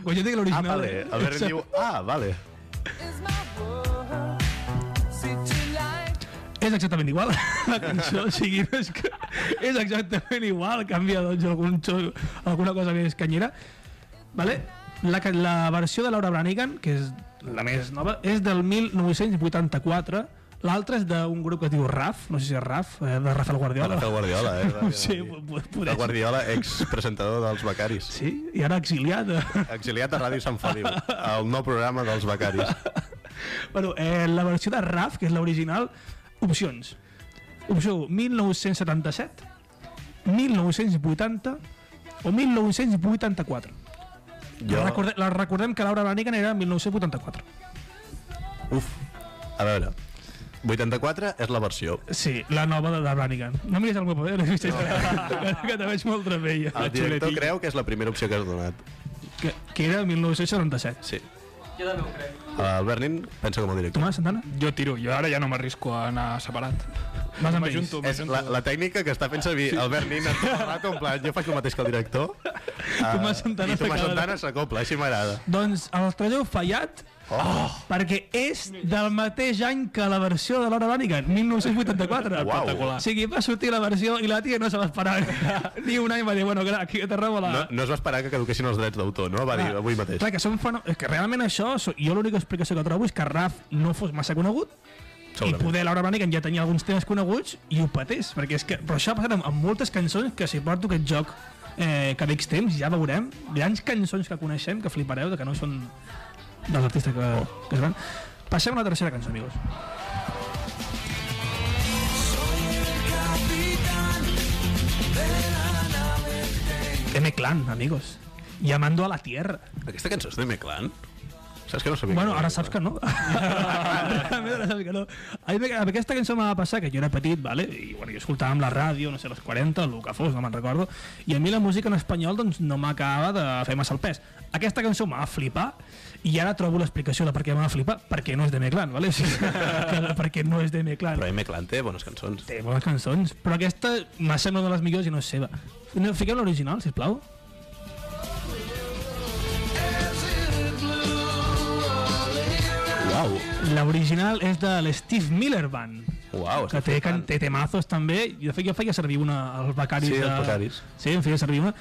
Quan jo dic Ah, l'original... eh. vale. Ah, A Berlín diu, ah, vale. És exactament igual, la cançó, o sigui, no és, que, és exactament igual, canvia doncs algun xo, alguna cosa més canyera. Vale? La, ca- la versió de Laura Branigan, que és la més nova, és del 1984, l'altra és d'un grup que es diu RAF, no sé si és RAF, eh, de Rafael Guardiola. Rafael Guardiola, eh? No ho sé, po- po- Del podria ser. Guardiola, expresentador dels Becaris. Sí, i ara exiliat. Exiliat a Ràdio Sant Feliu, el nou programa dels becaris. bueno, eh, la versió de RAF, que és l'original, opcions. Opció u, 1977, 1980 o 1984. Jo... Recorde, la recordem que Laura Branigan era 1984. Uf, a veure... 84 és la versió. Sí, la nova de, de Branigan. No miris el meu paper, no miris no. que te veig molt trebella. El director creu que és la primera opció que has donat. Que, que era 1977. Sí. Jo també ho crec. El Bernin pensa com el director. Tomàs Santana, Jo tiro, jo ara ja no m'arrisco a anar separat. vas amb ells. M'ajunto, És la, m'ajunto. la tècnica que està fent servir el Bernin en tot el rato, en plan, jo faig el mateix que el director. Uh, Ah, Tomàs Santana I Tomàs s'acaba de- Santana s'acopla, així m'agrada. Doncs el tralleu fallat Oh. perquè és del mateix any que la versió de Laura Branigan, 1984. Espectacular. O sigui, va sortir la versió i la tia no se l'esperava. Ni un any va dir, bueno, clar, aquí te robo la... No, no es va esperar que caduquessin els drets d'autor, no? Va dir Clar, avui mateix. Clar, que són fenò... És que realment això, so- jo l'única explicació que trobo és que Raf no fos massa conegut i Segurament. poder Laura Branigan ja tenia alguns temes coneguts i ho patés, perquè és que... Però això ha passat amb, amb moltes cançons que si porto aquest joc eh, cada X temps, ja veurem, grans cançons que coneixem, que flipareu, de que no són dels artistes que, oh. que es van. Passem a la tercera cançó, amigos. M-Clan, amigos. Llamando a la Tierra. Aquesta cançó és de Meclan? Saps que no sabia? Bueno, ara saps que no. ara saps que no. A mi amb aquesta cançó m'ha passar que jo era petit, vale? i bueno, jo escoltava amb la ràdio, no sé, a les 40, el que fos, no me'n recordo, i a mi la música en espanyol doncs, no m'acaba de fer massa el pes. Aquesta cançó m'ha flipar, i ara trobo l'explicació de per què m'ha flipar, perquè no és de Meclan, vale? O sigui, que, perquè no és de Meclan. Però Meclan té bones cançons. Té bones cançons, però aquesta me sembla una de les millors i no és seva. No, fiquem l'original, sisplau. Uau, L'original és de l'Steve Miller Band. uau. que té, can, té temazos també i de fet jo feia servir una als Becaris Sí, de- als Becaris. sí, en feia servir una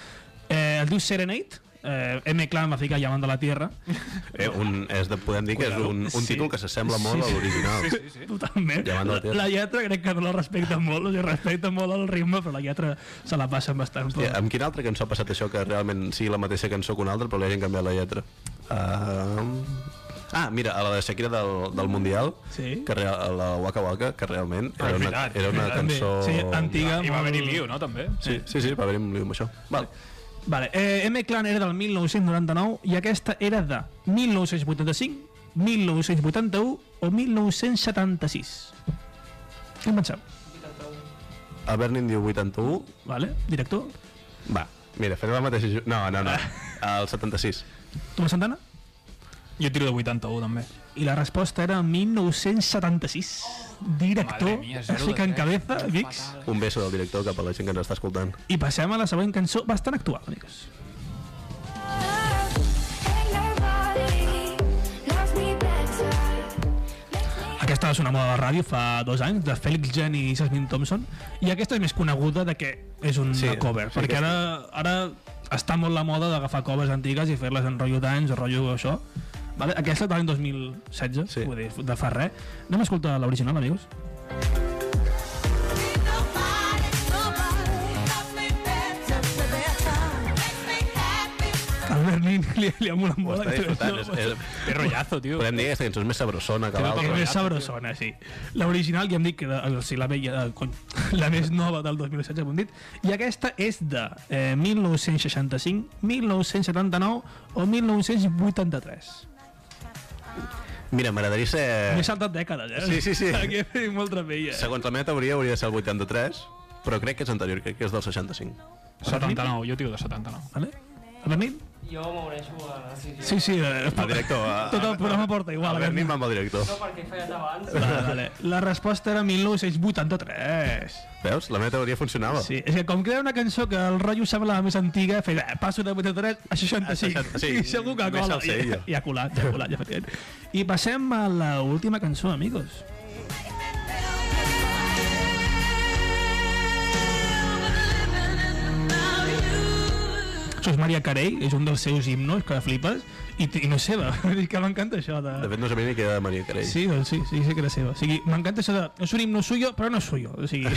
eh, es diu Serenade eh, M. Clan va ficar Llamando a la Tierra Eh, un, és de, podem dir que és un, un Sí. títol que s'assembla molt Sí, a sí. l'original. Sí, sí. totalment Llamando a la la, Tierra. la lletra crec que no la respecta molt o sigui, respecta molt el ritme però la lletra se la passen bastant Eh, però... amb quina altra cançó ha passat això que realment sigui la mateixa cançó que una altra però li hagin canviat la lletra? Uh, ah, mira, a la de Shakira del, del Mundial, Sí. Ah, que real, a la Waka Waka, que realment era és una, veritat, era una també. cançó... sí, antiga I va molt- haver-hi lío, no, també? Sí, sí, sí, va haver-hi un lío amb això. Val. Vale. Eh, M. Clan era del 1999 i aquesta era de 1985, 1981 o 1976. Què en penseu? A Bernin diu 81. Vale? Director? Va, mira, fem la mateixa... ju- No, no, no. El 76. Tomàs Santana? Jo tiro de 81, també. I la resposta era 1976. Director, Oh, Madre mía, es zero fica de en tres. cabeza, Vix. Un beso del director cap a la gent que ens està escoltant. I passem a la següent cançó, bastant actual, amigos. Aquesta va sonar molt a la ràdio fa dos anys, de Félix Jen i Jasmine Thompson, i aquesta és més coneguda de que és una Sí, cover, sí, perquè ara, ara està molt la moda d'agafar covers antigues i fer-les en rotllo d'anys o rotllo això. Vale? Aquesta de l'any 2016, Sí. sí. vull dir, de fa res. Anem a escoltar l'original, amigos. Al Berlín li, li ha molat molt. Ho està aquesta disfrutant. És, versió. és, Té rotllazo, tio. podem dir que aquesta cançó és més sabrosona que És l'altra. més sabrosona, sí. L'original, ja hem dit que era, o sigui, la, vella, eh, cony, la més nova del 2016, ja ho hem dit, i aquesta és de eh, 1965, 1979 o 1983. Mira, m'agradaria ser... M'he saltat dècades, eh? Sí, sí, sí. Aquí he fet molt trapella. Eh? Segons la meva teoria hauria de ser el 83, però crec que és anterior, crec que és del 65. Ah, 79, jo tiro de 79. Vale? El Bernil? Jo m'obreixo a... Sí, sí. Sí, sí. Eh, El director... A, Tot el programa porta igual. "Ah, a el Bernin va amb el director. No, perquè feies abans. Vale, vale. La resposta era 1983. Veus? La meva teoria funcionava. Sí, és que com que era una cançó que el rotllo semblava més antiga, feia, eh, passo de 83 a 65, A 65, i segur que més cola. I, salsella. I ha colat, ja ha colat, ja ha fet. I passem a l'última cançó, amigos. Això és Maria Carey, és un dels seus himnos, que flipes, i, i no és seva, és que m'encanta això de... De fet, no sabia ni què era de Maria Carell. Sí, doncs sí, sí, sí que era seva. O sigui, m'encanta això de... És un himno suyo, però no és suyo. O sigui,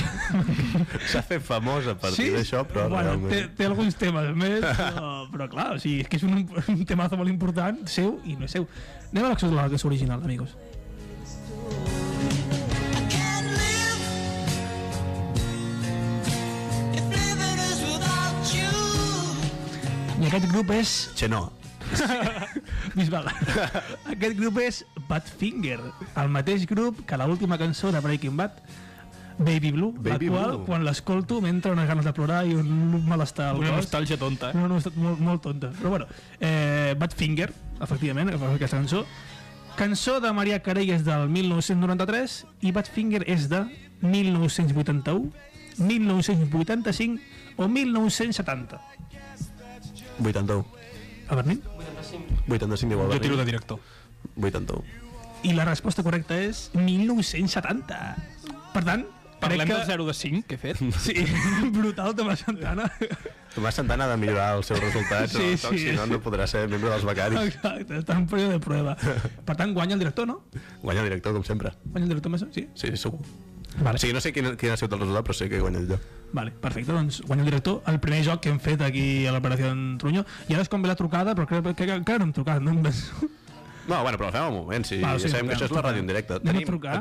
S'ha fet famosa a partir d'això, però bueno, realment... té, té alguns temes més, però, però clar, o sigui, és que és un, un temazo molt important, seu i no és seu. Anem a l'acció de la cançó original, amigos. I aquest grup és Xenó. Bisbal. Aquest grup és Badfinger, el mateix grup que l'última cançó de Breaking Bad, Baby Blue, Baby la qual, Blue. quan l'escolto, m'entra unes ganes de plorar i un malestar al Una cos. nostàlgia tonta, eh? No, no, ha estat molt, molt tonta. Però bueno, eh, Badfinger, efectivament, que fa aquesta cançó. Cançó de Maria Carey és del 1993 i Badfinger és de 1981, 1985 o 1970. 81. A Berlín? 85. 85 igual. Jo tiro de director. 81. I la resposta correcta és 1970. Per tant, Parlem crec del que... 0 de 5 que he fet? Sí, brutal, Tomàs Santana. Tomàs Santana ha de millorar els seus resultats, sí, Sí, no, sí. sí. si no, no podrà ser membre dels becaris. Exacte, està en període de prova. Per tant, guanya el director, no? Guanya el director, com sempre. Guanya el director, Tomàs? Sí? Sí, segur. Vale. Sí, no sé quin, quin ha sigut el resultat, però sé que guanya el lloc. Vale, perfecte, doncs guanya el director el primer joc que hem fet aquí a l'operació en Truño i ara és com ve la trucada, però crec crec que encara no hem trucat no? Em penso. No, bueno, però la fem al moment, sí. Va, Va, sí, sí sabem truquem, que això és la truquem. ràdio en directe. Anem a trucar?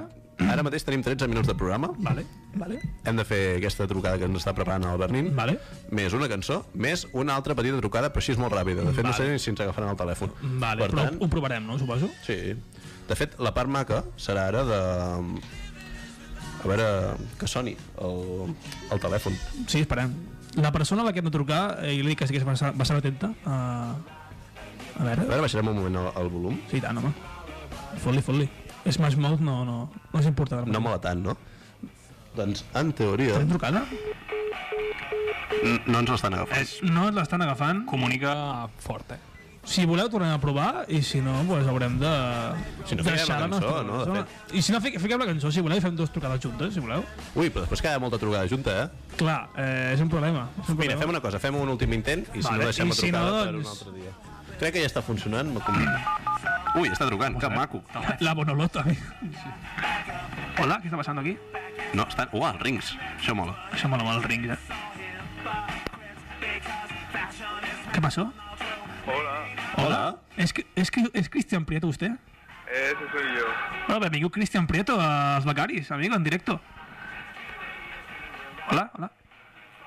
Ara mateix tenim 13 minuts de programa. vale, vale, Hem de fer aquesta trucada que ens està preparant el Bernin. Vale. Més una cançó, més una altra petita trucada, però així és molt ràpida. De fet, no sé Vale. ni si ens agafaran el telèfon. vale per però tant, ho provarem, no? Suposo Sí. De fet, la part maca serà ara de... A veure, que soni el, el telèfon. Sí, esperem La persona a la que hem de trucar, eh, i li dic que sí que és bastant, bastant atenta eh, a... a A veure, veure, baixarem un moment el, el volum. sí, i tant, home Fot-li, fot-li Smash Mouth no, no, no és important No mola tant, no? Doncs, en teoria, Tenim trucada? n- no ens l'estan agafant. No l'estan agafant Comunica fort, eh? Si voleu, tornem a provar, i si no, doncs haurem de... Si no, fiquem la cançó, nostra no? De persona. I si no, fi- fiquem la cançó, si voleu, i fem dues trucades juntes, si voleu. Ui, però després queda molta trucada junta, eh? Clar, eh, és un problema. És Mira, un problema. fem una cosa, fem un últim intent i si Vale, no deixem i la si no, trucada per un doncs- altre dia. Crec que ja està funcionant, me convida. Ui, està trucant, que maco. La Bonolota. Hola, què està passant aquí? No, està... Uah, els rings, això mola. Això mola molt el ring, eh? Què passó? Hola, Hola. És, que- és, que- és Cristian Prieto, vostè? ese soy yo. Hola, benvingut Cristian Prieto als Becaris, amigo, en directo. Hola, hola.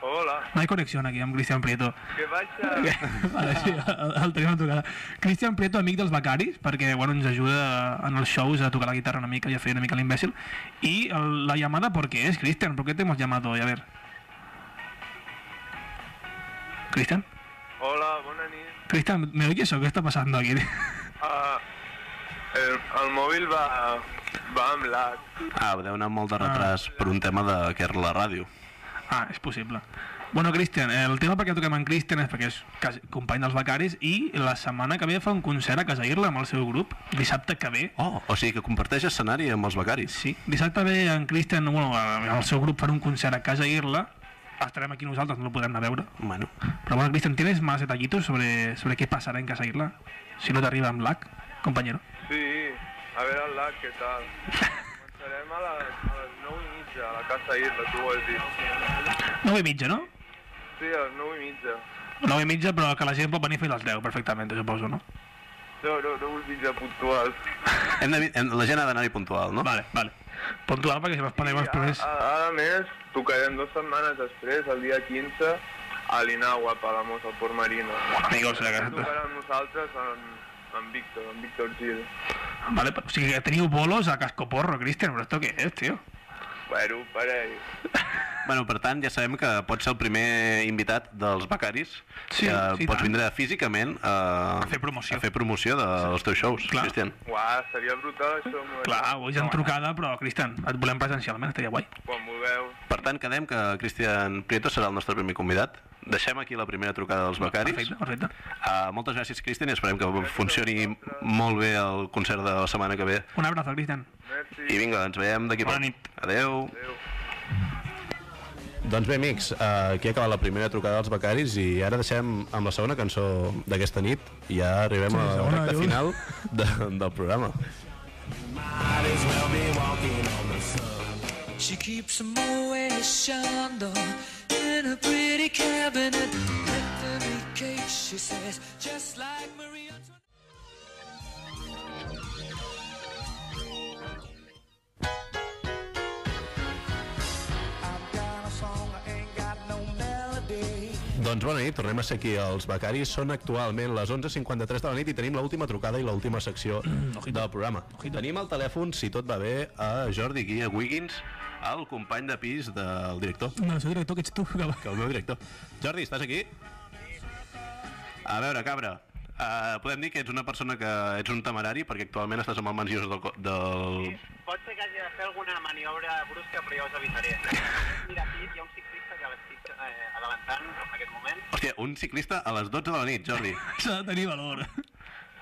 Hola, No hay conexión aquí amb Cristian Prieto. ¿qué pasa? Vale, sí, el, el tenim a tocar. Cristian Prieto, amic dels becaris, perquè bueno, ens ajuda en els shows a tocar la guitarra una mica i a fer una mica l'imbècil. I el, la llamada, ¿por qué es, Cristian? ¿Por qué te hemos llamado hoy? A ver. Cristian, Hola, bona nit. Cristian, ¿me oyes o qué está pasando aquí? Ah, el, el mòbil va, va amb lag. Ah, deu anar molt de retras per un tema de que és la ràdio. Ah, és possible. Bueno, Cristian, eh, el tema perquè toquem en Cristian és perquè és cas- company dels becaris i la setmana que ve fa un concert a Casairla amb el seu grup, dissabte que ve, Oh, o sigui que comparteix escenari amb els becaris. Sí, dissabte ve en Christian, bueno, el seu grup farà un concert a casa Irla. Estarem aquí nosaltres, no el podrem anar a veure. Bueno, Però bueno, Christian, ¿tienes más detallitos sobre, sobre qué pasará en casa Irla? Si no t'arriba amb lag, compañero. Sí, a veure el lag, què tal? Començarem a les, a les 9 i mitja, a la casa Irla, tu vols dir. 9 i mitja, no? Sí, a les 9 i mitja. 9 i mitja, però que la gent pot venir fins a les 10 perfectament, suposo, no? No, no, no vull mitja puntual. hem de, hem, la gent ha d'anar-hi puntual, no? Vale, vale. Puntual perquè si vas parar els primers... A, a, a més, tocarem dues setmanes després, el dia 15, a l'Inaua, a Palamos, al Port Marino. Amigos, la casa. Tocarem nosaltres amb, amb Víctor, amb Víctor Gil. Vale, però- o sigui que teniu bolos a cascoporro, Cristian, però esto què és, tio? Bueno, parell. Bueno, per tant, ja sabem que pots ser el primer invitat dels becaris, Sí, que sí, pots tant. vindre físicament a, a fer promoció. a fer promoció dels teus shows, Clar. Cristian. Uau, seria brutal això, m'ho Clar, avui ja en trucada, però, Cristian, et volem presencialment, estaria guai. Quan vulgueu. Per tant, quedem que Cristian Prieto serà el nostre primer convidat. Deixem aquí la primera trucada dels becaris. Perfecte, perfecte. Uh, moltes gràcies, Cristian, i esperem que funcioni molt bé el concert de la setmana que ve. Un abrazo, Cristian. Merci. I vinga, ens veiem d'aquí Bona nit. Adeu. Adéu. Doncs bé, amics, eh, aquí ha acabat la primera trucada dels becaris i ara deixem amb la segona cançó d'aquesta nit i ja arribem sí, a la segona, recta jo. final de, del programa. She keeps a Moet Chandon in a pretty cabinet. Let them eat cake, she says, just like Marie Antoinette. Doncs bona nit, tornem a ser aquí. Els becaris són actualment les 11.53 de la nit i tenim l'última trucada i l'última secció del programa. Tenim al telèfon, si tot va bé, a Jordi Guia Wiggins, el company de pis del director. No, soy director que ets tu, que va. que el meu director. Jordi, estàs aquí? A veure, cabra, uh, podem dir que ets una persona que ets un temerari perquè actualment estàs amb el mans lliures del... co- del... Pot ser que hagi de fer alguna maniobra brusca, però ja us avisaré. Mira, aquí hi ha un ciclista que l'estic eh, adelantant en aquest moment. Hòstia, un ciclista a les 12 de la nit, Jordi. S'ha de tenir valor.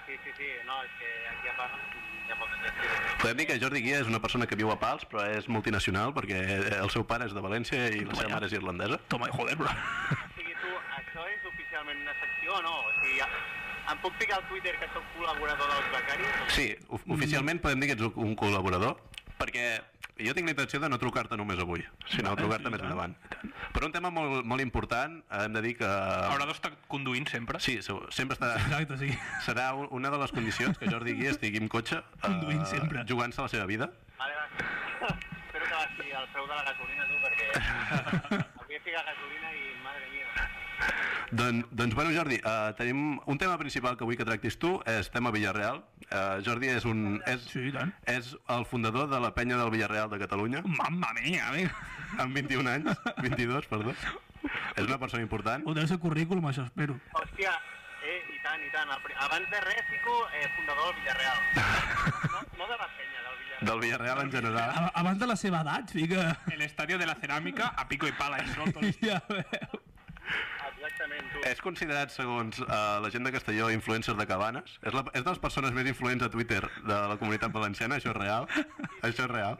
Sí, sí, sí, no, és que aquí a part hi ha molta gent. Podem dir que Jordi Guia és una persona que viu a Pals, però és multinacional, perquè el seu pare és de València i la seva mare és irlandesa. Toma, joder, bro. O sigui, tu, això és oficialment una secció o no? O sigui, ja, em puc picar al Twitter que sóc col·laborador dels becaris? Sí, of- oficialment podem dir que ets un col·laborador, perquè jo tinc la intenció de no trucar-te només avui, sinó trucar-te més endavant. Però un tema molt, molt important, hem de dir que... Haurà d'estar conduint sempre. Sí, segur, sempre està... Exacte, sí. Serà u- una de les condicions que Jordi Guia estigui amb cotxe eh, Conduint sempre. jugant-se la seva vida. Vale, va. Espero que baixi el preu de la gasolina, tu, perquè avui he ficat gasolina i, madre mia, Don, doncs, bueno, Jordi, uh, tenim un tema principal que vull que tractis tu, és tema Villarreal. Uh, Jordi és un... És, Sí, i tant. És el fundador de la penya del Villarreal de Catalunya, Mamma mia, amigo. amb 21 anys, 22, perdó. És una persona important. Ho deu ser currículum, això, espero. Hòstia, eh, i tant, i tant. El pri- Abans de res, fico eh, fundador del Villarreal. No, no de la penya, del Villarreal. Del Villarreal en general. A- Abans de la seva edat, fica... El estadio de la ceràmica a pico i pala i solto. Ja veu. Exactament, tu. És considerat, segons uh, la gent de Castelló, influencer de cabanes. És, la, és de les persones més influents a Twitter de la comunitat valenciana, això és real. Això és real.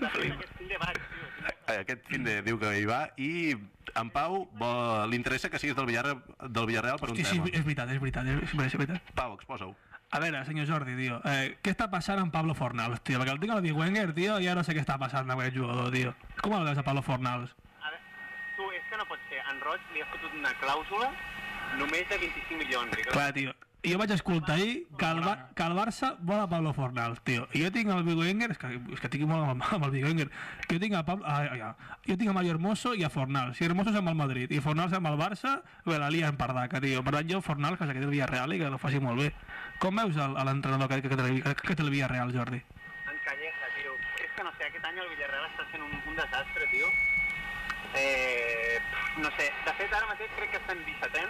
Després aquest fill de baix, tio. Eh, Aquest fin de diu que hi va i en Pau vol- li interessa que siguis del Villarreal, del Villarreal per un Sí, sí, tema. és veritat, és veritat, és, és veritat. Pau, exposa-ho. A veure, senyor Jordi, tio, eh, què està passant amb Pablo Fornals, tio? Perquè el tinc al Big Wenger, tio, i ara no sé què està passant amb aquest jugador, tio. Com el veus a Pablo Fornals? A veure, tu, és que no pot ser. En Roig li ha fotut una clàusula només de 25 milions. I que... Clar, tio, jo vaig escoltar ahir que el, Bar que el Barça vol a Pablo Fornals, tio. I jo tinc el Big Wenger, és que, és que tinc molt amb, amb el Big Wenger, que jo tinc a Pablo... Ah, ja. Jo tinc a Mario Hermoso i a Fornals. I Hermoso és amb el Madrid, i Fornals amb el Barça, bé, la lia en Pardaca, tio. Per tant, jo Fornals, que se quedi al Villarreal i que lo faci molt bé. Com veus el- a l'entrenador que, que, que, té el- que, que té el Villarreal, Jordi? En Calleja, tio. És que no sé, aquest any el Villarreal està sent un, un desastre, tio. Eh, pff, no sé, de fet ara mateix crec que estem 17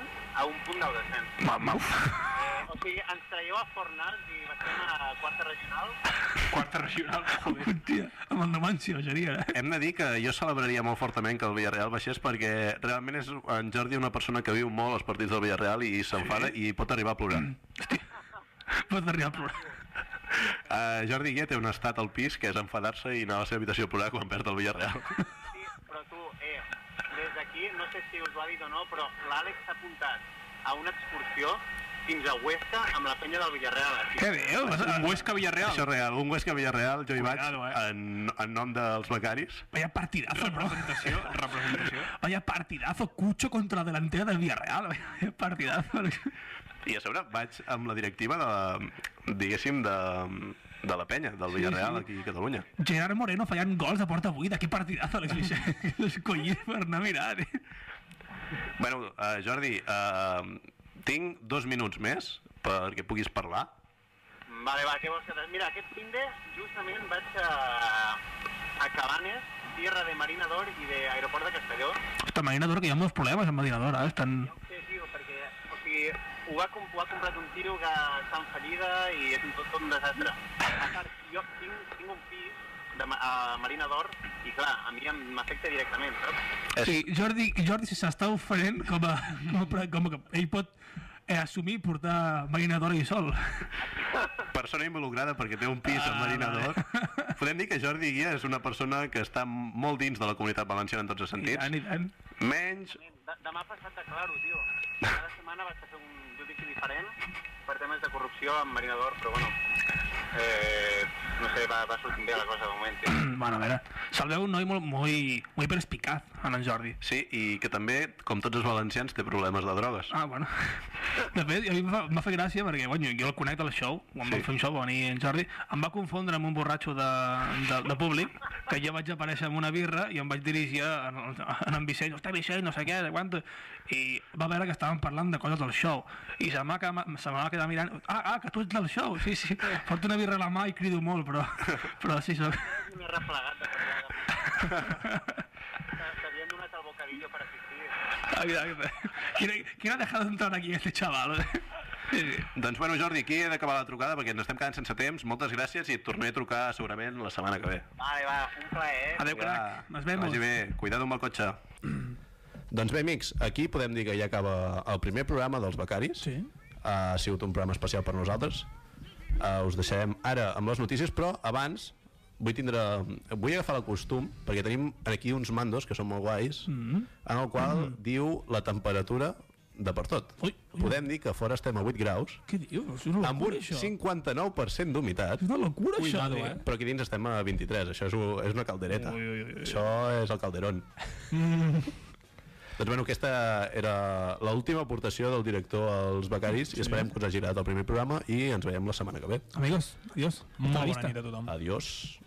a un punt del descens. Mamma. Eh, o sigui, ens traieu a Fornals i baixem a quarta regional. Quarta regional, joder. Hòstia, amb el Numancio seria, eh? Hem de dir que jo celebraria molt fortament que el Villarreal baixés perquè realment és en Jordi una persona que viu molt els partits del Villarreal i s'enfada sí. i pot arribar a plorar. Mm. Pot arribar al programa. Uh, Jordi Guia té un estat al pis que és enfadarse i anar a la seva habitació a plorar quan perd el Villarreal. Sí, però tu, eh, des d'aquí, no sé si us ho ha dit o no, però l'Àlex s'ha apuntat a una excursió fins a Huesca amb la penya del Villarreal. Així. Què dius? Un Huesca Villarreal. Això és real, un Huesca Villarreal, jo hi vaig, Cuidado, eh. en, en nom dels becaris. Vaya partidazo, bro. Representació, representació. Vaya partidazo, Cucho contra la delantera del Villarreal. Vaya partidazo. I a sobre vaig amb la directiva de, diguéssim, de, de la penya, del Villarreal, sí, sí. aquí a Catalunya. Gerard Moreno fallant gols a porta buida. Que partidazo, Alex Vicente. Los collins per anar a mirar, eh? Bueno, uh, Jordi, uh, tinc dos minuts més perquè puguis parlar. Vale, va, què vols que t'has... Mira, aquest fin de justament vaig a, a Cabanes, tierra de Marinador i de Aeroport de Castelló. Hòstia, Marinador, que hi ha molts problemes amb Marinador, eh? Estan... No sé, tio, perquè, o sigui, ho va, comp ho ha comprat un tio que està en fallida i és un tot, tot un desastre. A part, jo tinc, tinc un pis de, Ma- a Marina d'Or i, clar, a mi em- m'afecta directament, saps? Sí, Jordi, Jordi si s'està oferent com a, com a, com a, com ell pot eh, assumir portar Marinador i sol. Persona involucrada perquè té un pis ah, marinador. eh? Podem dir que Jordi Guia és una persona que està molt dins de la comunitat valenciana en tots els I tant, sentits. i tant. Menys... De, demà passat declaro, tio. Cada setmana vaig a fer un judici diferent per temes de corrupció amb Marina d'Or, però, bueno, eh, no sé, va, va sortint bé la cosa de moment, tio. Bueno, a veure, se'l veu un noi molt, molt, molt perspicaz, en en Jordi. Sí, i que també, com tots els valencians, té problemes de drogues. Ah, bueno. De fet, a mi em va, em va fer gràcia perquè, bueno, jo el conec al show, quan sí. vam fer un show, va venir en Jordi, em va confondre amb un borratxo de, de, de públic, que jo vaig aparèixer amb una birra i em vaig dirigir a, a, a en Vicent, hòstia, Vicent, no sé què, de quant... I va veure que estàvem parlant de coses del show. I se m'ha quedat, se m'ha quedat mirant, ah, ah, que tu ets del show, sí, sí. Porto una birra a la mà i crido molt, però, però sí, soc... M'he replegat de T'havien donat el bocadillo per assistir. Exacte. ¿Quién, ¿Quién ha dejado entrar aquí este chaval? eh? Sí, sí. Doncs bueno, Jordi, aquí he d'acabar la trucada perquè ens estem quedant sense temps. Moltes gràcies i et tornaré a trucar segurament la setmana que ve. Vale, va, un plaer, eh? Adéu, crac. Nos vemos. Vagi bé. Cuidado amb el cotxe. Doncs bé, amics, aquí podem dir que ja acaba el primer programa dels Becaris. Sí. Ha sigut un programa especial per nosaltres. Uh, us deixarem ara amb les notícies, però abans vull tindre... Vull agafar el costum, perquè tenim aquí uns mandos que són molt guais, mm Mm-hmm. -hmm. en el qual mm -hmm. diu la temperatura de per tot. Ui, ui. Podem dir que fora estem a 8 graus, Què dius? És una amb un locura, això. 59% d'humitat, És una locura, això. Cuidado, tio. eh? però aquí dins estem a 23, això és, u- és una caldereta. Ui, ui, Mm. ui, això és el calderón. Doncs bueno, aquesta era l'última aportació del director als becaris i esperem que us hagi agradat el primer programa i ens veiem la setmana que ve. Amigos, adiós. Hasta la Molt vista. bona nit a tothom. Adiós.